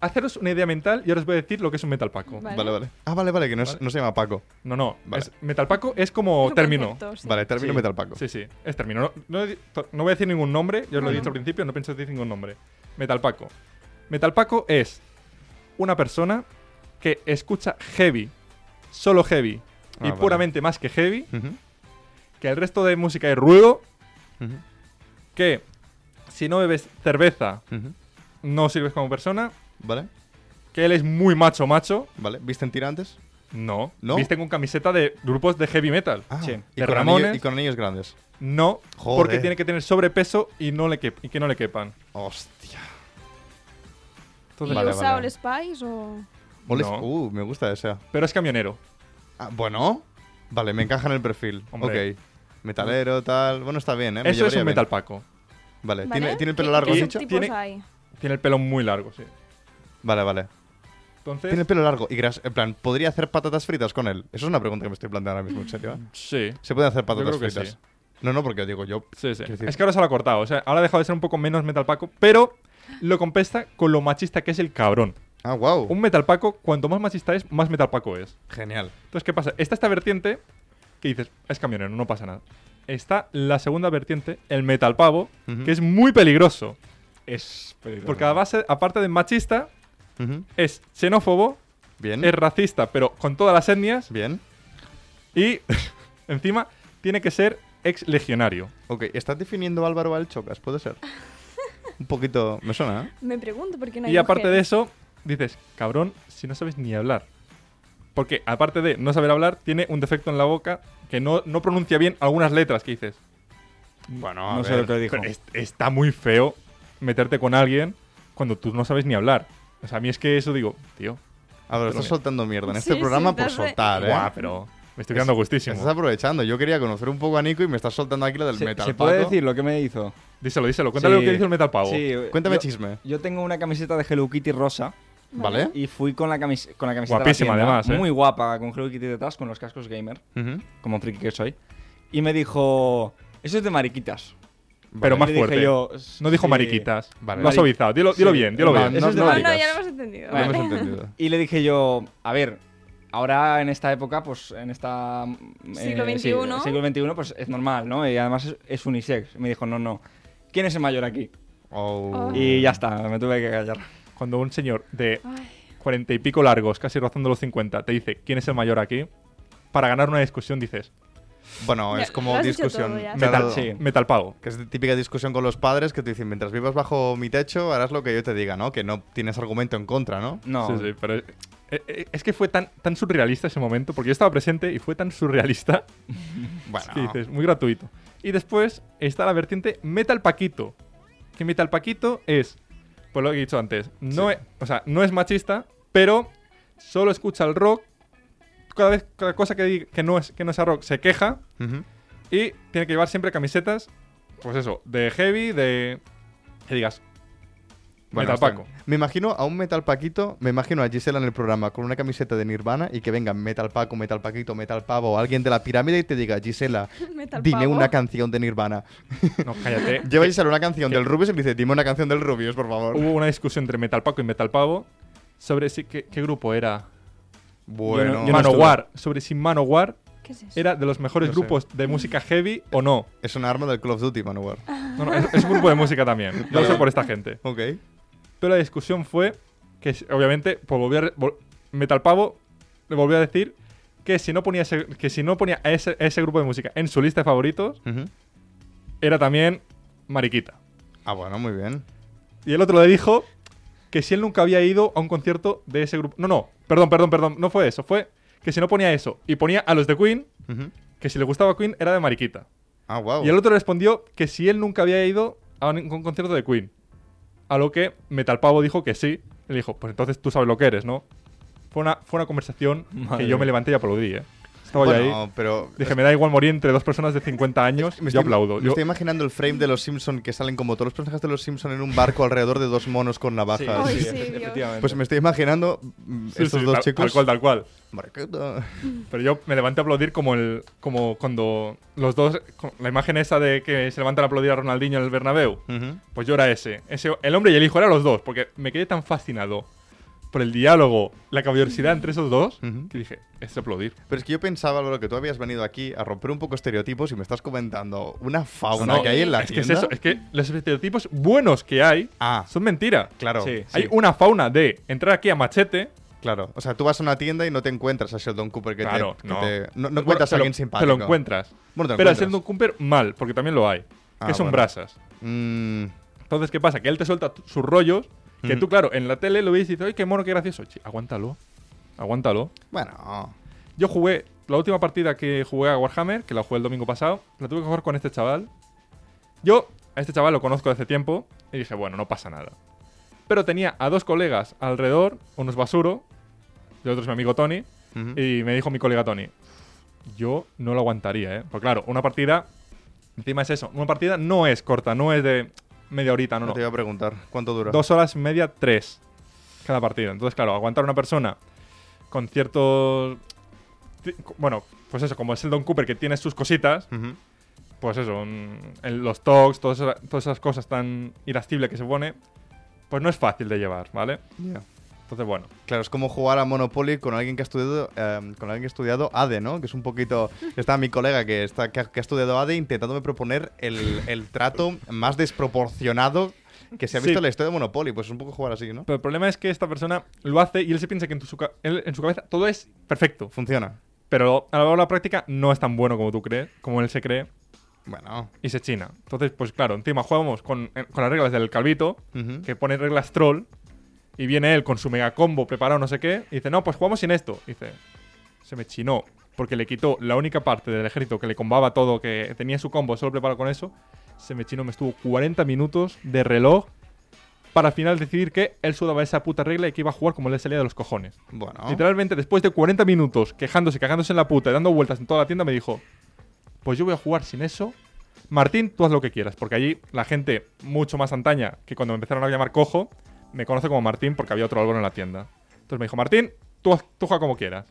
Speaker 3: haceros una idea mental y ahora os voy a decir lo que es un Metal Paco.
Speaker 2: Vale.
Speaker 5: Vale, vale. Ah, vale, vale, que no, es-
Speaker 3: Vale.
Speaker 5: no se llama Paco.
Speaker 3: No, no,
Speaker 5: Vale.
Speaker 3: es- Metal Paco es como término.
Speaker 2: Concepto, sí.
Speaker 5: Vale, término
Speaker 3: Sí.
Speaker 5: Metalpaco.
Speaker 3: Sí, sí, es término. No, no he di- to- no voy a decir ningún nombre, yo os lo
Speaker 2: No,
Speaker 3: he dicho
Speaker 2: no.
Speaker 3: al principio, no pienso decir ningún nombre. Metal Paco. Metal Paco es una persona que escucha heavy, solo heavy,
Speaker 5: Ah,
Speaker 3: y
Speaker 5: vale. Mm.
Speaker 3: puramente más que heavy,
Speaker 5: Ujú,
Speaker 3: que el resto de música es ruido,
Speaker 5: ujú,
Speaker 3: que si no bebes cerveza
Speaker 5: ujú.
Speaker 3: no sirves como persona,
Speaker 5: Vale,
Speaker 3: que él es muy macho macho.
Speaker 5: vale. ¿Visten tirantes?
Speaker 3: No.
Speaker 5: ¿No?
Speaker 3: Visten con camiseta de grupos de heavy metal.
Speaker 5: Ah,
Speaker 4: Sí.
Speaker 5: y,
Speaker 3: De
Speaker 5: con
Speaker 3: Ramones.
Speaker 5: anillo- y con anillos grandes.
Speaker 3: No,
Speaker 5: Joder.
Speaker 3: porque tiene que tener sobrepeso y, no le quep- y que no le quepan.
Speaker 5: Hostia.
Speaker 2: ¿Y
Speaker 3: Entonces-
Speaker 5: Vale,
Speaker 2: usa
Speaker 5: vale.
Speaker 2: All Spice o...?
Speaker 5: Ole-
Speaker 3: No.
Speaker 5: Uh, me gusta esa.
Speaker 3: Pero es camionero.
Speaker 5: Ah, bueno. Vale, me encaja en el perfil.
Speaker 3: Hombre.
Speaker 5: Ok. Metalero, tal. Bueno, está bien, ¿eh?
Speaker 3: Eso
Speaker 5: Me
Speaker 3: es
Speaker 5: llevaría
Speaker 3: un
Speaker 5: bien.
Speaker 3: metal paco.
Speaker 5: Vale,
Speaker 2: ¿Vale?
Speaker 5: ¿Tiene, tiene el pelo
Speaker 2: ¿Qué-
Speaker 5: largo,
Speaker 3: Y-
Speaker 5: has
Speaker 2: ¿Qué
Speaker 5: dicho?
Speaker 2: subtipos
Speaker 3: Tiene-
Speaker 2: hay?
Speaker 3: Tiene el pelo muy largo, sí.
Speaker 5: Vale, vale.
Speaker 3: Entonces,
Speaker 5: Tiene el pelo largo y gras. En plan, ¿podría hacer patatas fritas con él? Eso es una pregunta que me estoy planteando ahora mismo, en serio. ¿eh?
Speaker 3: sí.
Speaker 5: ¿Se pueden hacer patatas
Speaker 3: creo que
Speaker 5: fritas?
Speaker 3: sí.
Speaker 5: No, no, porque digo yo.
Speaker 3: Sí, sí.
Speaker 5: Quiero decir-
Speaker 3: Es que ahora se lo ha cortado. O sea, ahora ha dejado de ser un poco menos metal paco, pero lo compensa con lo machista que es el cabrón.
Speaker 5: Ah, wow.
Speaker 3: Un metal paco, cuanto más machista es, más metal paco es.
Speaker 5: Genial.
Speaker 3: Entonces, ¿qué pasa? Está esta vertiente que dices, es camionero, no pasa nada. Está la segunda vertiente, el metal pavo,
Speaker 5: Ujú.
Speaker 3: que es muy peligroso.
Speaker 4: Es peligroso.
Speaker 3: Porque a base, aparte de machista,
Speaker 5: Ujú.
Speaker 3: es xenófobo,
Speaker 5: Bien.
Speaker 3: es racista, pero con todas las etnias,
Speaker 5: Bien.
Speaker 3: y encima tiene que ser ex legionario.
Speaker 5: Ok, ¿estás definiendo Álvaro al Chocas? ¿Puede ser? Un poquito. Me suena, ¿eh?
Speaker 2: Me pregunto por qué no hay
Speaker 3: y aparte de
Speaker 2: mujeres.
Speaker 3: eso, dices, cabrón, si no sabes ni hablar. Porque aparte de no saber hablar, tiene un defecto en la boca que no, no pronuncia bien algunas letras que dices.
Speaker 5: Bueno,
Speaker 4: No sé lo que dijo.
Speaker 3: Pero es- está muy feo meterte con alguien cuando tú no sabes ni hablar. O sea, a mí es que eso digo, tío,
Speaker 5: A ver, estás
Speaker 3: Perdón.
Speaker 5: soltando mierda en
Speaker 2: Sí,
Speaker 5: este
Speaker 2: sí,
Speaker 5: programa por
Speaker 2: estás re-
Speaker 5: soltar, ¿eh?
Speaker 3: guau, pero me estoy quedando gustísimo.
Speaker 5: Estás aprovechando. Yo quería conocer un poco a Nico y me estás soltando aquí la del
Speaker 4: ¿Se,
Speaker 5: metal.
Speaker 4: se puede
Speaker 5: Paco.
Speaker 4: decir lo que me hizo?
Speaker 3: Díselo, díselo, cuéntale lo que
Speaker 4: Sí.
Speaker 3: dice el metal pavo.
Speaker 4: Sí,
Speaker 5: Cuéntame
Speaker 4: yo-
Speaker 5: chisme.
Speaker 4: Yo tengo una camiseta de Hello Kitty rosa
Speaker 5: ¿Vale?
Speaker 4: y fui con la, camis- con la camiseta de la
Speaker 3: ¿Eh? Guapísima,
Speaker 4: tienda,
Speaker 3: además, ¿eh?
Speaker 4: Muy guapa, con Hello Kitty detrás, con los cascos gamer,
Speaker 5: Ujú.
Speaker 4: como friki que soy. Y me dijo, eso es de mariquitas.
Speaker 3: Pero
Speaker 4: Y
Speaker 3: más
Speaker 4: le dije
Speaker 3: fuerte.
Speaker 4: yo,
Speaker 3: No dijo
Speaker 4: "Sí".
Speaker 3: mariquitas.
Speaker 5: Vale.
Speaker 3: Lo has
Speaker 4: Mari-
Speaker 3: suavizado. Dilo, dilo
Speaker 4: Sí.
Speaker 3: bien, dilo
Speaker 4: Vale,
Speaker 3: bien.
Speaker 4: eso es de
Speaker 2: Ah, No, no,
Speaker 4: maricas.
Speaker 2: ya lo hemos entendido.
Speaker 5: Lo
Speaker 2: Vale.
Speaker 5: hemos entendido.
Speaker 4: Y le dije yo, a ver, ahora en esta época, pues en esta... mm,
Speaker 2: Siglo
Speaker 4: sí,
Speaker 2: XXI.
Speaker 4: siglo XXI, pues es normal, ¿no? Y además es, es unisex. Me dijo, no, no. ¿Quién es el mayor aquí?
Speaker 5: Oh.
Speaker 4: Y ya está, me tuve que callar.
Speaker 3: Cuando un señor de
Speaker 2: Ay.
Speaker 3: cuarenta y pico largos, casi rozando los 50, te dice quién es el mayor aquí, para ganar una discusión dices
Speaker 5: Bueno,
Speaker 2: Ya,
Speaker 5: es
Speaker 2: lo
Speaker 5: como
Speaker 2: has dicho
Speaker 5: discusión.
Speaker 2: todo ya.
Speaker 5: Claro,
Speaker 3: metal,
Speaker 4: sí.
Speaker 3: metal pago.
Speaker 5: Que es de típica discusión con los padres que te dicen, mientras vivas bajo mi techo, harás lo que yo te diga, ¿no? Que no tienes argumento en contra, ¿no?
Speaker 4: No,
Speaker 3: Sí, sí, pero eh, eh, es que fue tan, tan surrealista ese momento, porque yo estaba presente y fue tan surrealista
Speaker 5: Bueno,
Speaker 3: que dices, muy gratuito. Y después está la vertiente Metal Paquito. Que Metal Paquito es, pues lo que he dicho antes, no, e- o sea, no es machista, pero solo escucha el rock. Cada vez, cada cosa que, di- que, no es, que no sea rock se queja
Speaker 5: ujú.
Speaker 3: y tiene que llevar siempre camisetas, pues eso, de heavy, de. que digas.
Speaker 5: Bueno,
Speaker 3: metal
Speaker 5: está
Speaker 3: Paco.
Speaker 5: bien. Me imagino a un Metal Paquito, me imagino a Gisela en el programa con una camiseta de Nirvana y que venga Metal Paco, Metal Paquito, Metal Pavo o alguien de la pirámide y te diga, Gisela,
Speaker 2: Metal
Speaker 5: dime
Speaker 2: pavo.
Speaker 5: una canción de Nirvana.
Speaker 3: No, cállate. Eh,
Speaker 5: Lleva Gisela una canción del Rubius y le dice, dime una canción del Rubius, por favor.
Speaker 3: Hubo una discusión entre Metal Paco y Metal Pavo sobre si, qué, qué grupo era.
Speaker 5: bueno,
Speaker 4: Yo no
Speaker 3: Manowar. sobre si Manowar
Speaker 2: ¿Qué es eso?
Speaker 3: era de los mejores
Speaker 5: No sé.
Speaker 3: grupos de música heavy o no.
Speaker 5: es un arma del Call of Duty, Manowar.
Speaker 2: Ah.
Speaker 3: No, no, es, es un grupo de música también. No
Speaker 5: Vale.
Speaker 3: sé por esta gente.
Speaker 5: Ok.
Speaker 3: Pero la discusión fue que, si- obviamente, pues volvió a re- vol- Metal Pavo le volvió a decir que si no ponía, ese- que si no ponía a ese, a ese grupo de música en su lista de favoritos,
Speaker 5: Ujú.
Speaker 3: era también Mariquita.
Speaker 5: Ah, bueno, muy bien.
Speaker 3: Y el otro le dijo que si él nunca había ido a un concierto de ese grupo. No, no, perdón, perdón, perdón. No fue eso. Fue que si no ponía eso y ponía a los de Queen,
Speaker 5: Ujú.
Speaker 3: que si le gustaba Queen era de Mariquita.
Speaker 5: Ah, wow.
Speaker 3: Y el otro respondió que si él nunca había ido a un, un concierto de Queen. A lo que Metal Pavo dijo que sí. Y le dijo, pues entonces tú sabes lo que eres, ¿no? Fue una, fue una conversación
Speaker 4: Madre
Speaker 3: que yo me
Speaker 4: mía.
Speaker 3: levanté y aplaudí, ¿eh? Estaba yo
Speaker 5: Bueno,
Speaker 3: ahí.
Speaker 5: pero
Speaker 3: Dije, me da igual morir entre dos personas de 50 años,
Speaker 5: Me
Speaker 3: yo
Speaker 5: estoy-
Speaker 3: aplaudo.
Speaker 5: Me
Speaker 3: Yo-
Speaker 5: estoy imaginando el frame de los Simpson que salen como todos los personajes de los Simpson en un barco alrededor de dos monos con navajas.
Speaker 2: Ay, sí,
Speaker 4: efe-
Speaker 2: Dios.
Speaker 4: efectivamente.
Speaker 5: Pues me estoy imaginando mm,
Speaker 3: sí,
Speaker 5: estos
Speaker 3: sí,
Speaker 5: dos
Speaker 3: tal-
Speaker 5: chicos.
Speaker 3: Tal cual, tal cual.
Speaker 5: Barqueta.
Speaker 3: Pero yo me levanté a aplaudir como el como cuando los dos con la imagen esa de que se levantan a aplaudir a Ronaldinho en el Bernabéu.
Speaker 5: Ujú.
Speaker 3: Pues yo era ese, ese el hombre y el hijo eran los dos, porque me quedé tan fascinado por el diálogo, la caballerosidad entre esos dos,
Speaker 5: Ujú.
Speaker 3: que dije, es de aplaudir.
Speaker 5: Pero es que yo pensaba, Álvaro, que tú habías venido aquí a romper un poco estereotipos y me estás comentando una fauna
Speaker 3: No,
Speaker 5: que hay en la
Speaker 3: es que es
Speaker 5: tienda.
Speaker 3: eso, es que los estereotipos buenos que hay
Speaker 5: Ah.
Speaker 3: son mentira.
Speaker 5: Claro,
Speaker 4: Sí.
Speaker 3: Hay una fauna de entrar aquí a machete,
Speaker 5: claro. O sea, tú vas a una tienda y no te encuentras a Sheldon Cooper que te-
Speaker 3: claro,
Speaker 5: que
Speaker 3: no.
Speaker 5: te... No, no
Speaker 3: Bueno,
Speaker 5: encuentras
Speaker 3: te
Speaker 5: a
Speaker 3: lo-
Speaker 5: alguien simpático.
Speaker 3: Te lo encuentras.
Speaker 5: Bueno, te lo
Speaker 3: Pero
Speaker 5: encuentras.
Speaker 3: haciendo un Cooper mal, porque también lo hay,
Speaker 5: Ah,
Speaker 3: que son
Speaker 5: bueno.
Speaker 3: brasas.
Speaker 5: Mm,
Speaker 3: Entonces, ¿qué pasa? Que él te suelta t- sus rollos, que
Speaker 5: Ujú.
Speaker 3: tú, claro, en la tele lo ves y dices, ¡ay, qué mono, qué gracioso! Che, aguántalo, aguántalo. Ah,
Speaker 5: bueno,
Speaker 3: Yo jugué, la última partida que jugué a Warhammer, que la jugué el domingo pasado, la tuve que jugar con este chaval. Yo a este chaval lo conozco desde hace tiempo y dije, bueno, no pasa nada. Pero tenía a dos colegas alrededor, uno es Basuro, y el otro es mi amigo Tony,
Speaker 5: Ujú.
Speaker 3: y me dijo mi colega Tony, yo no lo aguantaría, ¿eh? Porque claro, una partida, encima es eso, una partida no es corta, no es de media horita, no,
Speaker 5: no
Speaker 3: no.
Speaker 5: te iba a preguntar cuánto dura.
Speaker 3: Dos horas y media, tres cada partido. Entonces, claro, aguantar una persona con ciertos. ti- Bueno, pues eso, como es el Don Cooper que tiene sus cositas,
Speaker 5: Ujú.
Speaker 3: pues eso, un- el- los talks, todas, esa- todas esas cosas tan irascibles que se pone, pues no es fácil de llevar, ¿vale?
Speaker 5: Ya.
Speaker 3: Entonces, bueno,
Speaker 5: Claro, es como jugar a Monopoly con alguien que ha estudiado, eh, con alguien que ha estudiado ADE, ¿no? Que es un poquito. Está mi colega que está que ha, que ha estudiado ADE intentándome proponer el, el trato más desproporcionado que se ha visto
Speaker 3: Sí.
Speaker 5: en la historia de Monopoly. Pues es un poco jugar así, ¿no?
Speaker 3: pero el problema es que esta persona lo hace y él se piensa que en, tu su ca- él- en su cabeza todo es perfecto,
Speaker 5: Funciona.
Speaker 3: pero a lo largo de la práctica no es tan bueno como tú crees, como él se cree.
Speaker 5: Bueno.
Speaker 3: Y se china. Entonces, pues claro, encima jugamos con, eh, con las reglas del calvito,
Speaker 5: Ujú.
Speaker 3: que pone reglas troll y viene él con su mega combo preparado no sé qué y dice, no, pues jugamos sin esto. Y dice, se me chinó porque le quitó la única parte del ejército que le combaba todo, que tenía su combo solo preparado con eso. Se me chinó, me estuvo 40 minutos de reloj para al final decidir que él sudaba esa puta regla y que iba a jugar como le salía de los cojones.
Speaker 5: Bueno.
Speaker 3: Literalmente, después de 40 minutos quejándose, cagándose en la puta y dando vueltas en toda la tienda, me dijo: Pues yo voy a jugar sin eso. Martín, tú haz lo que quieras, porque allí la gente mucho más antaña que cuando me empezaron a llamar cojo, me conoce como Martín porque había otro árbol en la tienda. Entonces me dijo: Martín, tú, haz- tú juega como quieras.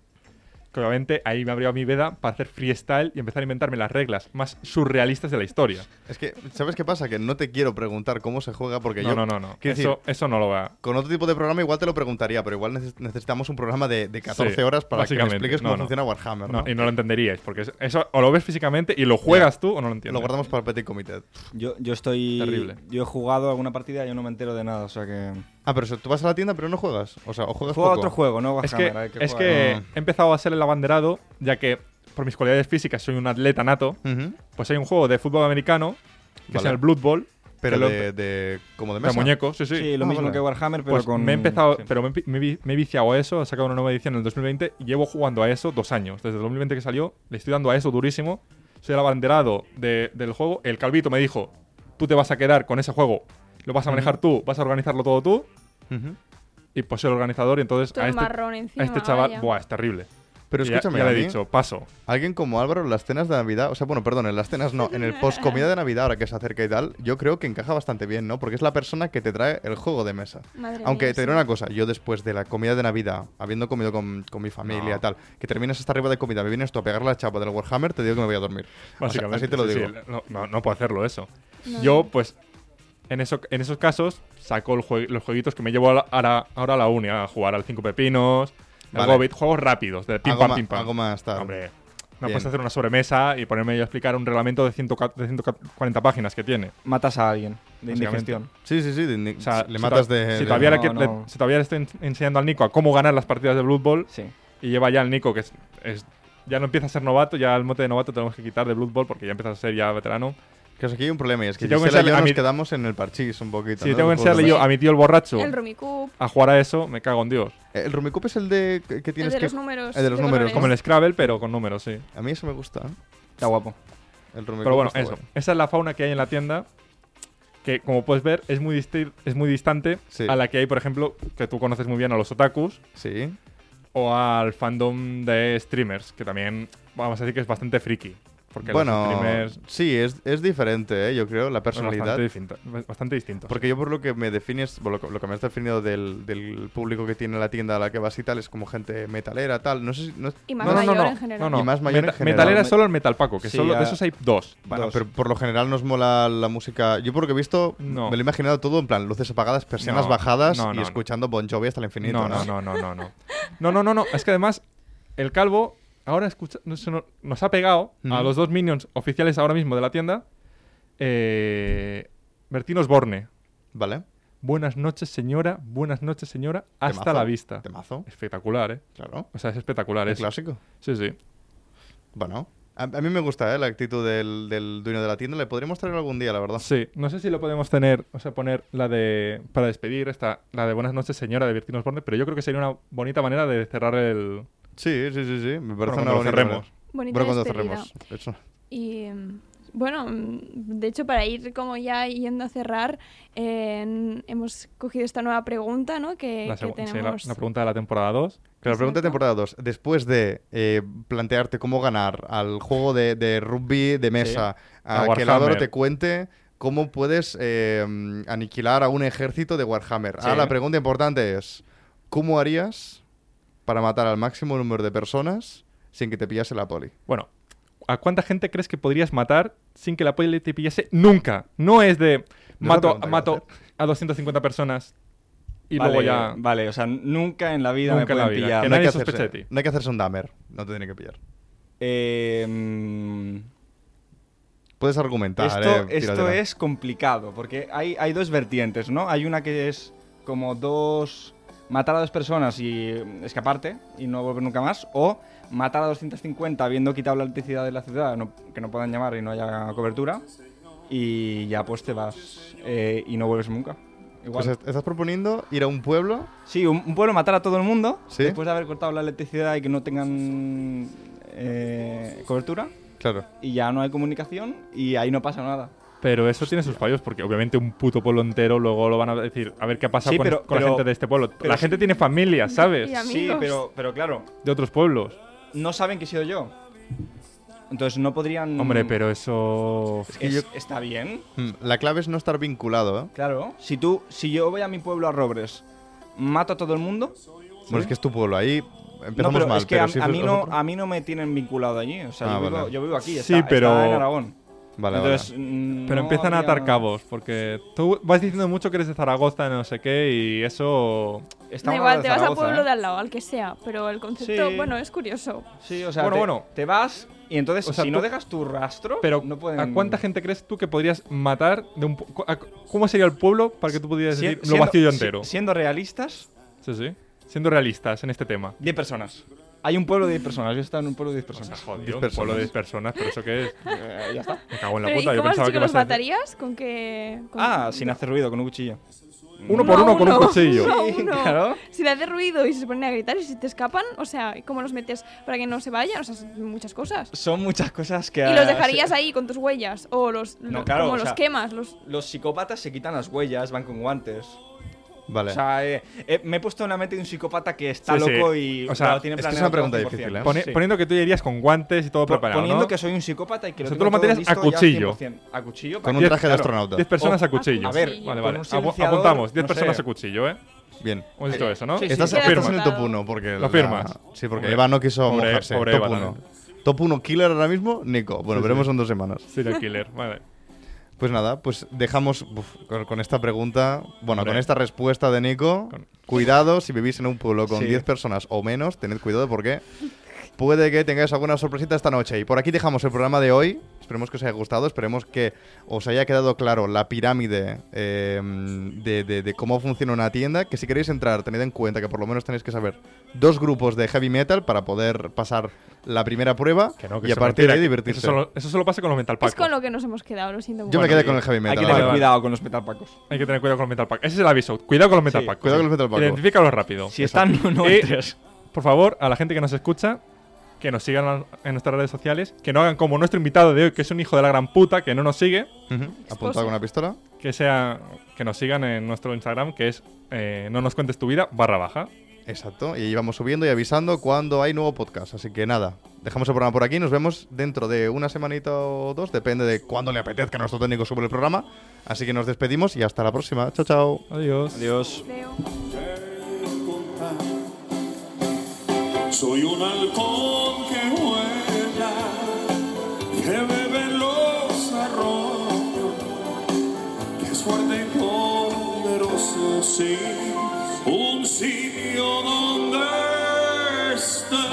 Speaker 3: que obviamente ahí me abrió mi veda para hacer freestyle y empezar a inventarme las reglas más surrealistas de la historia.
Speaker 5: Es que, ¿sabes qué pasa? Que no te quiero preguntar cómo se juega porque
Speaker 3: no,
Speaker 5: yo.
Speaker 3: no, no, no.
Speaker 5: Quiero decir,
Speaker 3: Eso, eso no lo va.
Speaker 5: Con otro tipo de programa igual te lo preguntaría, pero igual neces- necesitamos un programa de, de 14
Speaker 3: Sí,
Speaker 5: horas para que me
Speaker 3: básicamente.
Speaker 5: expliques
Speaker 3: No,
Speaker 5: cómo
Speaker 3: no.
Speaker 5: funciona Warhammer. ¿no?
Speaker 3: No, y no lo entenderíais, porque es- eso o lo ves físicamente y lo juegas tú o no lo entiendes.
Speaker 5: Lo guardamos para el Petit Comité.
Speaker 4: Yo, yo estoy.
Speaker 3: Terrible.
Speaker 4: Yo he jugado alguna partida, yo no me entero de nada, o sea que.
Speaker 5: Ah, pero eso, tú vas a la tienda pero no juegas. O sea, o juegas
Speaker 4: Juego a
Speaker 5: poco.
Speaker 4: otro juego, ¿no?
Speaker 3: Es que,
Speaker 4: Warhammer, al
Speaker 3: es
Speaker 4: juega.
Speaker 3: que
Speaker 5: Ah.
Speaker 3: he empezado a ser el abanderado, ya que por mis cualidades físicas soy un atleta nato.
Speaker 5: Ujú.
Speaker 3: Pues hay un juego de fútbol americano que se
Speaker 5: Vale.
Speaker 3: llama el Blood Bowl.
Speaker 5: Pero
Speaker 3: que lo-
Speaker 5: de, de- como de
Speaker 3: de
Speaker 5: mesa.
Speaker 3: muñecos, sí, sí.
Speaker 4: Sí, lo
Speaker 5: Ah,
Speaker 4: mismo
Speaker 5: vale.
Speaker 4: que Warhammer, pero
Speaker 3: Pues
Speaker 4: con.
Speaker 3: me he empezado,
Speaker 4: sí.
Speaker 3: pero me, he pi- me he vi- me he viciado a eso, he sacado una nueva edición en el 2020 y llevo jugando a eso dos años. Desde el 2020 que salió, le estoy dando a eso durísimo. Soy el abanderado de- del juego. El Calvito me dijo, tú te vas a quedar con ese juego, lo vas a manejar tú, vas a organizarlo todo tú.
Speaker 5: Ujú.
Speaker 3: Y pues soy el organizador y entonces
Speaker 2: Todo
Speaker 3: a este,
Speaker 2: marrón
Speaker 3: a
Speaker 2: encima.
Speaker 3: este chaval,
Speaker 2: vaya.
Speaker 3: buah, es terrible.
Speaker 5: Pero
Speaker 3: Y ya-
Speaker 5: escúchame,
Speaker 3: ya, le
Speaker 5: a
Speaker 3: he
Speaker 5: mí-
Speaker 3: dicho, paso.
Speaker 5: Alguien como Álvaro en las cenas de Navidad, o sea, bueno, perdón, en las cenas no, en el post comida de Navidad, ahora que se acerca y tal, yo creo que encaja bastante bien, ¿no? Porque es la persona que te trae el juego de mesa.
Speaker 2: Madre
Speaker 5: Aunque
Speaker 2: mía, sí.
Speaker 5: te diré una cosa, yo después de la comida de Navidad, habiendo comido con, con mi familia
Speaker 3: No.
Speaker 5: tal, que terminas hasta arriba de comida, me vienes tú a pegar la chapa del Warhammer, te digo que me voy a dormir. O sea,
Speaker 3: Básicamente.
Speaker 5: así te lo
Speaker 3: sí,
Speaker 5: digo.
Speaker 3: sí, no, no- no puedo hacerlo eso.
Speaker 2: No.
Speaker 3: Yo, pues, en, eso, en esos casos, saco el jue- los jueguitos que me llevo a la- a la- ahora a la uni, a jugar al Cinco Pepinos, al
Speaker 5: Vale.
Speaker 3: Gobbit, juegos rápidos, de pim
Speaker 5: Algo
Speaker 3: pam,
Speaker 5: ma-
Speaker 3: pim pam.
Speaker 5: algo más tarde.
Speaker 3: Hombre, no
Speaker 5: Bien.
Speaker 3: puedes hacer una sobremesa y ponerme yo a explicar un reglamento de, 140 de 140 páginas que tiene.
Speaker 4: Matas a alguien de
Speaker 3: Básicamente.
Speaker 4: indigestión.
Speaker 5: Sí, sí, sí, de-
Speaker 3: O sea,
Speaker 5: le
Speaker 3: si
Speaker 5: matas
Speaker 3: to-
Speaker 5: de...
Speaker 3: Si
Speaker 5: de-
Speaker 3: todavía, le,
Speaker 4: No,
Speaker 3: que- le-
Speaker 4: no.
Speaker 3: si todavía le estoy en- enseñando al Nico a cómo ganar las partidas de Blood Bowl
Speaker 4: Sí.
Speaker 3: y lleva ya al Nico, que es- es- ya no empieza a ser novato, ya el mote de novato tenemos que quitar de Blood Bowl porque ya empiezas a ser ya veterano.
Speaker 5: Que es aquí hay un problema y es que
Speaker 3: Si tengo que
Speaker 5: Gisela y yo
Speaker 3: enseñarle a
Speaker 5: nos
Speaker 3: mi-
Speaker 5: quedamos en el parchís un poquito.
Speaker 3: Si tengo que
Speaker 5: ¿no? Del juego de
Speaker 3: enseñarle yo
Speaker 5: mesa.
Speaker 3: a mi tío el borracho
Speaker 2: El Rumicup,
Speaker 3: a jugar a eso, me cago en Dios.
Speaker 5: El Rumicup es el de que que
Speaker 2: el
Speaker 5: tienes
Speaker 2: de
Speaker 5: que...
Speaker 2: los números.
Speaker 5: el de los números,
Speaker 2: colores.
Speaker 3: Como el Scrabble, pero con números, sí.
Speaker 5: A mí eso me este gusta, ¿eh?
Speaker 4: Está guapo.
Speaker 5: El Rumicup
Speaker 3: Pero bueno,
Speaker 5: está
Speaker 3: eso. Esa es la fauna que hay en la tienda, que como puedes ver, es muy, disti- es muy distante
Speaker 5: Sí.
Speaker 3: a la que hay, por ejemplo, que tú conoces muy bien a los otakus
Speaker 5: Sí.
Speaker 3: o al fandom de streamers, que también vamos a decir que es bastante friki. Porque
Speaker 5: bueno,
Speaker 3: los streamers
Speaker 5: sí, es, es diferente, ¿eh? yo creo, la
Speaker 3: son
Speaker 5: personalidad.
Speaker 3: bastante, distinta- bastante distintos.
Speaker 5: Porque yo por lo que me defines, por lo, que- lo que me has definido del, del público que tiene la tienda a la que vas y tal, es como gente metalera, tal. No sé si... No,
Speaker 2: Y
Speaker 3: no,
Speaker 2: más
Speaker 3: no, no,
Speaker 2: mayor
Speaker 3: no,
Speaker 2: en general.
Speaker 3: no, no.
Speaker 5: Y más mayor en general.
Speaker 3: Metalera es
Speaker 4: Me-
Speaker 3: solo el metal paco, que
Speaker 4: Sí,
Speaker 3: solo de
Speaker 4: ya-
Speaker 3: esos hay dos.
Speaker 5: bueno,
Speaker 4: Dos.
Speaker 5: pero por lo general nos mola la música. Yo por lo que he visto,
Speaker 3: No.
Speaker 5: me lo he imaginado todo en plan luces apagadas, persianas
Speaker 3: No,
Speaker 5: bajadas
Speaker 3: no,
Speaker 5: y
Speaker 3: no,
Speaker 5: escuchando Bon Jovi hasta el
Speaker 3: No,
Speaker 5: infinito. No,
Speaker 3: no, no, no, no, no. No, no, no, no. Es que además, el calvo ahora escucha, no sé, no- nos ha pegado a
Speaker 5: Mm.
Speaker 3: los dos minions oficiales ahora mismo de la tienda. Eh, Bertín Osborne.
Speaker 5: Vale.
Speaker 3: Buenas noches, señora. Buenas noches, señora. Hasta
Speaker 5: Temazo,
Speaker 3: la vista.
Speaker 5: Temazo,
Speaker 3: Espectacular, ¿eh?
Speaker 5: claro.
Speaker 3: O sea, es espectacular.
Speaker 5: Un
Speaker 3: Es,
Speaker 5: clásico.
Speaker 3: sí, sí.
Speaker 5: Bueno. A, a mí me gusta ¿eh? la actitud del, del dueño de la tienda. Le podríamos traer algún día, la verdad.
Speaker 3: Sí. No sé si lo podemos tener, o sea, poner la de, para despedir, esta, la de Buenas noches, señora de Bertín Osborne, pero yo creo que sería una bonita manera de cerrar el...
Speaker 5: Sí, sí, sí, sí. Me parece
Speaker 3: Bueno,
Speaker 5: una
Speaker 3: cuando lo
Speaker 5: bonita
Speaker 3: cerremos.
Speaker 5: manera.
Speaker 2: Bonita
Speaker 5: Bueno, cuando
Speaker 2: despedida.
Speaker 5: cerremos. Eso.
Speaker 2: Y mm, bueno, mm, de hecho, para ir como ya yendo a cerrar, eh, en- hemos cogido esta nueva pregunta, ¿no? Eh, Que,
Speaker 3: la
Speaker 2: que
Speaker 3: segu- sí, la-
Speaker 2: tenemos.
Speaker 3: la pregunta de la temporada 2.
Speaker 5: Que la pregunta de
Speaker 2: Exacto.
Speaker 5: temporada 2, después de eh, plantearte cómo ganar al juego de, de rugby de mesa, a,
Speaker 3: A
Speaker 5: que el Álvaro
Speaker 3: Warhammer.
Speaker 5: te cuente cómo puedes eh, aniquilar a un ejército de Warhammer. Ahora
Speaker 4: Sí.
Speaker 5: la pregunta importante es, ¿cómo harías para matar al máximo número de personas sin que te pillase la poli?
Speaker 3: Bueno, ¿a cuánta gente crees que podrías matar sin que la poli te pillase nunca? No es de mato,
Speaker 5: No es la pregunta que
Speaker 3: mato
Speaker 5: iba
Speaker 3: a 250 personas y
Speaker 4: Vale,
Speaker 3: luego ya...
Speaker 4: Vale, o sea, nunca en la vida
Speaker 3: Nunca en
Speaker 4: me
Speaker 3: la
Speaker 4: pueden
Speaker 3: vida.
Speaker 4: pillar.
Speaker 3: Que
Speaker 5: Ah, No hay
Speaker 3: nadie
Speaker 5: que,
Speaker 3: sospeche
Speaker 5: hacerse,
Speaker 3: de ti.
Speaker 5: no hay que hacerse un damer, no te tiene que pillar.
Speaker 4: Eh, mm,
Speaker 5: Puedes argumentar.
Speaker 4: Esto,
Speaker 5: eh,
Speaker 4: esto
Speaker 5: tíratela.
Speaker 4: es complicado, porque hay, hay dos vertientes, ¿no? Hay una que es como dos... Matar a dos personas y mm, escaparte y no volver nunca más, o matar a 250 habiendo quitado la electricidad de la ciudad, no- que no puedan llamar y no haya cobertura, y ya pues te vas eh, y no vuelves nunca. Igual.
Speaker 5: Pues est- estás proponiendo ir a un pueblo
Speaker 4: sí, un, un pueblo matar a todo el mundo
Speaker 5: Sí.
Speaker 4: después de haber cortado la electricidad y que no tengan eh, cobertura,
Speaker 5: Claro.
Speaker 4: y ya no hay comunicación y ahí no pasa nada.
Speaker 3: Pero eso tiene sus fallos porque obviamente un puto pueblo entero luego lo van a decir, a ver qué ha pasado
Speaker 4: Sí,
Speaker 3: con,
Speaker 4: pero-
Speaker 3: con la
Speaker 4: pero-
Speaker 3: gente de este pueblo.
Speaker 4: pero
Speaker 3: la
Speaker 4: sí.
Speaker 3: gente tiene familia, ¿sabes?
Speaker 2: Y a mí-
Speaker 4: Sí,
Speaker 2: Amigos.
Speaker 4: pero, pero claro,
Speaker 3: De otros pueblos.
Speaker 4: no saben que he sido yo. Entonces no podrían.
Speaker 3: Hombre, pero eso...
Speaker 4: Mm. Es- Está bien,
Speaker 5: Mm, La clave es no estar vinculado, ¿eh?
Speaker 4: claro. Si tú, si yo voy a mi pueblo a Robres, mato a todo el mundo.
Speaker 5: Bueno, es que es tu pueblo. Ahí
Speaker 4: no,
Speaker 5: empezamos
Speaker 4: pero
Speaker 5: mal.
Speaker 4: es que
Speaker 5: pero
Speaker 4: a,
Speaker 5: si
Speaker 4: a mí
Speaker 5: fuese
Speaker 4: no,
Speaker 5: otro-
Speaker 4: a mí no me tienen vinculado allí. O sea,
Speaker 5: Ah,
Speaker 4: yo, vivo,
Speaker 5: vale.
Speaker 4: yo vivo aquí,
Speaker 3: Sí,
Speaker 4: está-
Speaker 3: pero-
Speaker 4: está en Aragón.
Speaker 5: Vale, vale.
Speaker 4: Entonces, mm,
Speaker 3: Pero
Speaker 4: no
Speaker 3: empiezan a
Speaker 4: habría-
Speaker 3: atar cabos, porque tú vas diciendo mucho que eres de Zaragoza, no sé qué, y eso...
Speaker 4: Estamos
Speaker 2: Da igual,
Speaker 4: hablando
Speaker 2: te
Speaker 4: de
Speaker 2: vas al
Speaker 4: Zaragoza,
Speaker 2: pueblo
Speaker 4: ¿eh?
Speaker 2: de al lado, al que sea, pero el concepto,
Speaker 3: Sí.
Speaker 2: bueno, es curioso.
Speaker 4: Sí, o sea,
Speaker 3: Bueno,
Speaker 4: te,
Speaker 3: bueno.
Speaker 4: te vas y entonces
Speaker 3: O sea,
Speaker 4: si
Speaker 3: tú-
Speaker 4: no dejas tu rastro,
Speaker 3: Pero,
Speaker 4: no pueden...
Speaker 3: ¿a cuánta gente crees tú que podrías matar de un... pu- a- ¿Cómo sería el pueblo para que tú pudieras
Speaker 4: Sien-
Speaker 3: decir lo
Speaker 4: siendo-
Speaker 3: vacío yo
Speaker 4: si-
Speaker 3: entero?
Speaker 4: Siendo realistas,
Speaker 3: Sí, sí. Siendo realistas en este tema.
Speaker 4: 10 personas. Hay un pueblo de 10 personas, yo he estado en un pueblo de 10 personas.
Speaker 3: Joder, un
Speaker 5: personas.
Speaker 3: pueblo de 10 personas, ¿pero eso qué es?
Speaker 4: Eh, ya está.
Speaker 3: Me cago en la
Speaker 2: Pero, ¿y
Speaker 3: puta, yo
Speaker 2: cómo has
Speaker 3: pensaba
Speaker 2: dicho
Speaker 3: que
Speaker 2: que
Speaker 3: ibas
Speaker 2: los
Speaker 3: a decir-
Speaker 2: matarías? ¿Con qué...? con-
Speaker 4: Ah, sin hacer ruido, con un cuchillo.
Speaker 3: Uno por
Speaker 2: a
Speaker 3: uno con un cuchillo.
Speaker 2: uno a
Speaker 4: Sí,
Speaker 2: uno.
Speaker 4: claro.
Speaker 2: Si le hace ruido y se ponen a gritar y si te escapan, o sea, ¿cómo los metes para que no se vayan? O sea, son muchas cosas.
Speaker 4: Son muchas cosas que...
Speaker 2: ¿Y
Speaker 4: ah,
Speaker 2: los
Speaker 4: se-
Speaker 2: dejarías ahí con tus huellas? ¿O los,
Speaker 4: No,
Speaker 2: lo-
Speaker 4: claro,
Speaker 2: cómo
Speaker 4: o
Speaker 2: los
Speaker 4: sea-
Speaker 2: quemas? Los...
Speaker 4: Los psicópatas se quitan las huellas, van con guantes.
Speaker 5: Vale.
Speaker 4: O sea, eh, eh, me he puesto en la mente de un psicópata que
Speaker 3: Sí,
Speaker 4: está
Speaker 3: sí.
Speaker 4: loco y
Speaker 3: O sea,
Speaker 4: claro, tiene
Speaker 5: es que es
Speaker 4: planeado
Speaker 5: una pregunta
Speaker 4: todo 100%.
Speaker 5: difícil, ¿eh?
Speaker 3: Pone-
Speaker 4: Sí.
Speaker 3: Poniendo que tú irías con guantes y todo
Speaker 4: Po-
Speaker 3: preparado,
Speaker 4: poniendo
Speaker 3: ¿no?
Speaker 4: que soy un psicópata y que
Speaker 3: O
Speaker 4: lo
Speaker 3: sea, tú
Speaker 4: tengo
Speaker 3: lo matarías
Speaker 4: todo listo
Speaker 3: a
Speaker 4: ya al
Speaker 3: cuchillo.
Speaker 4: 100%. A cuchillo.
Speaker 5: Con un
Speaker 4: para-
Speaker 5: traje de
Speaker 4: claro.
Speaker 5: astronauta.
Speaker 3: 10 personas
Speaker 2: O-
Speaker 3: a cuchillo.
Speaker 4: A ver,
Speaker 3: vale,
Speaker 4: Oh, ah, con
Speaker 3: vale.
Speaker 4: un
Speaker 3: Apu-
Speaker 4: silenciador,
Speaker 3: Apuntamos, 10
Speaker 4: no
Speaker 3: personas
Speaker 4: sé.
Speaker 3: a cuchillo, ¿eh?
Speaker 5: Bien.
Speaker 3: Hemos dicho eso, ¿no?
Speaker 4: sí, sí.
Speaker 5: Estás,
Speaker 2: Queda
Speaker 5: estás en el top
Speaker 2: anotado.
Speaker 5: 1 porque...
Speaker 3: Lo firmas.
Speaker 5: la- Sí, porque
Speaker 3: Hombre.
Speaker 5: Eva no quiso
Speaker 3: Pobre-
Speaker 5: mojarse.
Speaker 3: pobre
Speaker 5: top
Speaker 3: Eva
Speaker 5: 1.
Speaker 3: también.
Speaker 5: Top 1 killer ahora mismo, Nico. Bueno,
Speaker 3: Sí,
Speaker 5: veremos
Speaker 3: sí.
Speaker 5: en dos semanas.
Speaker 3: Serial killer, vale.
Speaker 5: Pues nada, pues dejamos uf, con, con esta pregunta, bueno,
Speaker 3: Hombre.
Speaker 5: con esta respuesta de Nico.
Speaker 3: Con-
Speaker 5: Cuidado si vivís en un pueblo con
Speaker 4: Sí.
Speaker 5: 10 personas o menos, tened cuidado porque puede que tengáis alguna sorpresita esta noche. Y por aquí dejamos el programa de hoy. Esperemos que os haya gustado, esperemos que os haya quedado claro la pirámide eh, de, de- de cómo funciona una tienda. Que si queréis entrar, tened en cuenta que por lo menos tenéis que saber dos grupos de heavy metal para poder pasar la primera prueba
Speaker 3: Que no, que
Speaker 5: y a
Speaker 3: eso
Speaker 5: partir de ahí
Speaker 3: mentira.
Speaker 5: divertirse.
Speaker 3: Eso solo, eso solo pasa con los Mental Pack.
Speaker 2: Es con lo que nos hemos quedado, lo siento
Speaker 5: Yo
Speaker 2: mucho.
Speaker 5: me quedé con el heavy
Speaker 4: Hay
Speaker 5: metal.
Speaker 4: que
Speaker 5: la
Speaker 4: tener
Speaker 5: verdad.
Speaker 3: vale.
Speaker 4: cuidado con los metalpacos.
Speaker 3: Hay que tener cuidado con los Mental Pack. Ese es el aviso. Cuidado con los Mental
Speaker 4: Sí,
Speaker 3: Pack.
Speaker 5: cuidado con los Mental Pack.
Speaker 3: Identifícalos rápido.
Speaker 4: Si están, no, no
Speaker 3: Y-
Speaker 4: entres.
Speaker 3: Por favor, a la gente que nos escucha, que nos sigan en nuestras redes sociales, que no hagan como nuestro invitado de hoy, que es un hijo de la gran puta, que no nos sigue,
Speaker 5: Ujú. Apuntado con una pistola.
Speaker 3: que sea que nos sigan en nuestro Instagram, que es eh, no nos cuentes tu vida barra baja.
Speaker 5: Exacto, y ahí vamos subiendo y avisando cuando hay nuevo podcast. Así que nada, dejamos el programa por aquí. Nos vemos dentro de una semanita o dos, depende de cuándo le apetezca a nuestro técnico sobre el programa. Así que nos despedimos y hasta la próxima. Chao, chao.
Speaker 3: Adiós.
Speaker 4: Adiós.
Speaker 2: Creo.
Speaker 6: Soy un halcón que vuela, que bebe en los arroyos, que es fuerte y poderoso, sí, un sitio donde está.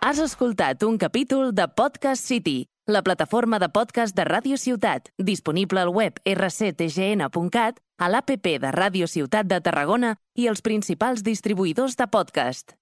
Speaker 7: Has escoltat un capítol de Podcast City, la plataforma de podcast de Ràdio Ciutat, disponible al web rctgn.cat, a l'APP de Ràdio Ciutat de Tarragona i els principals distribuïdors de podcast.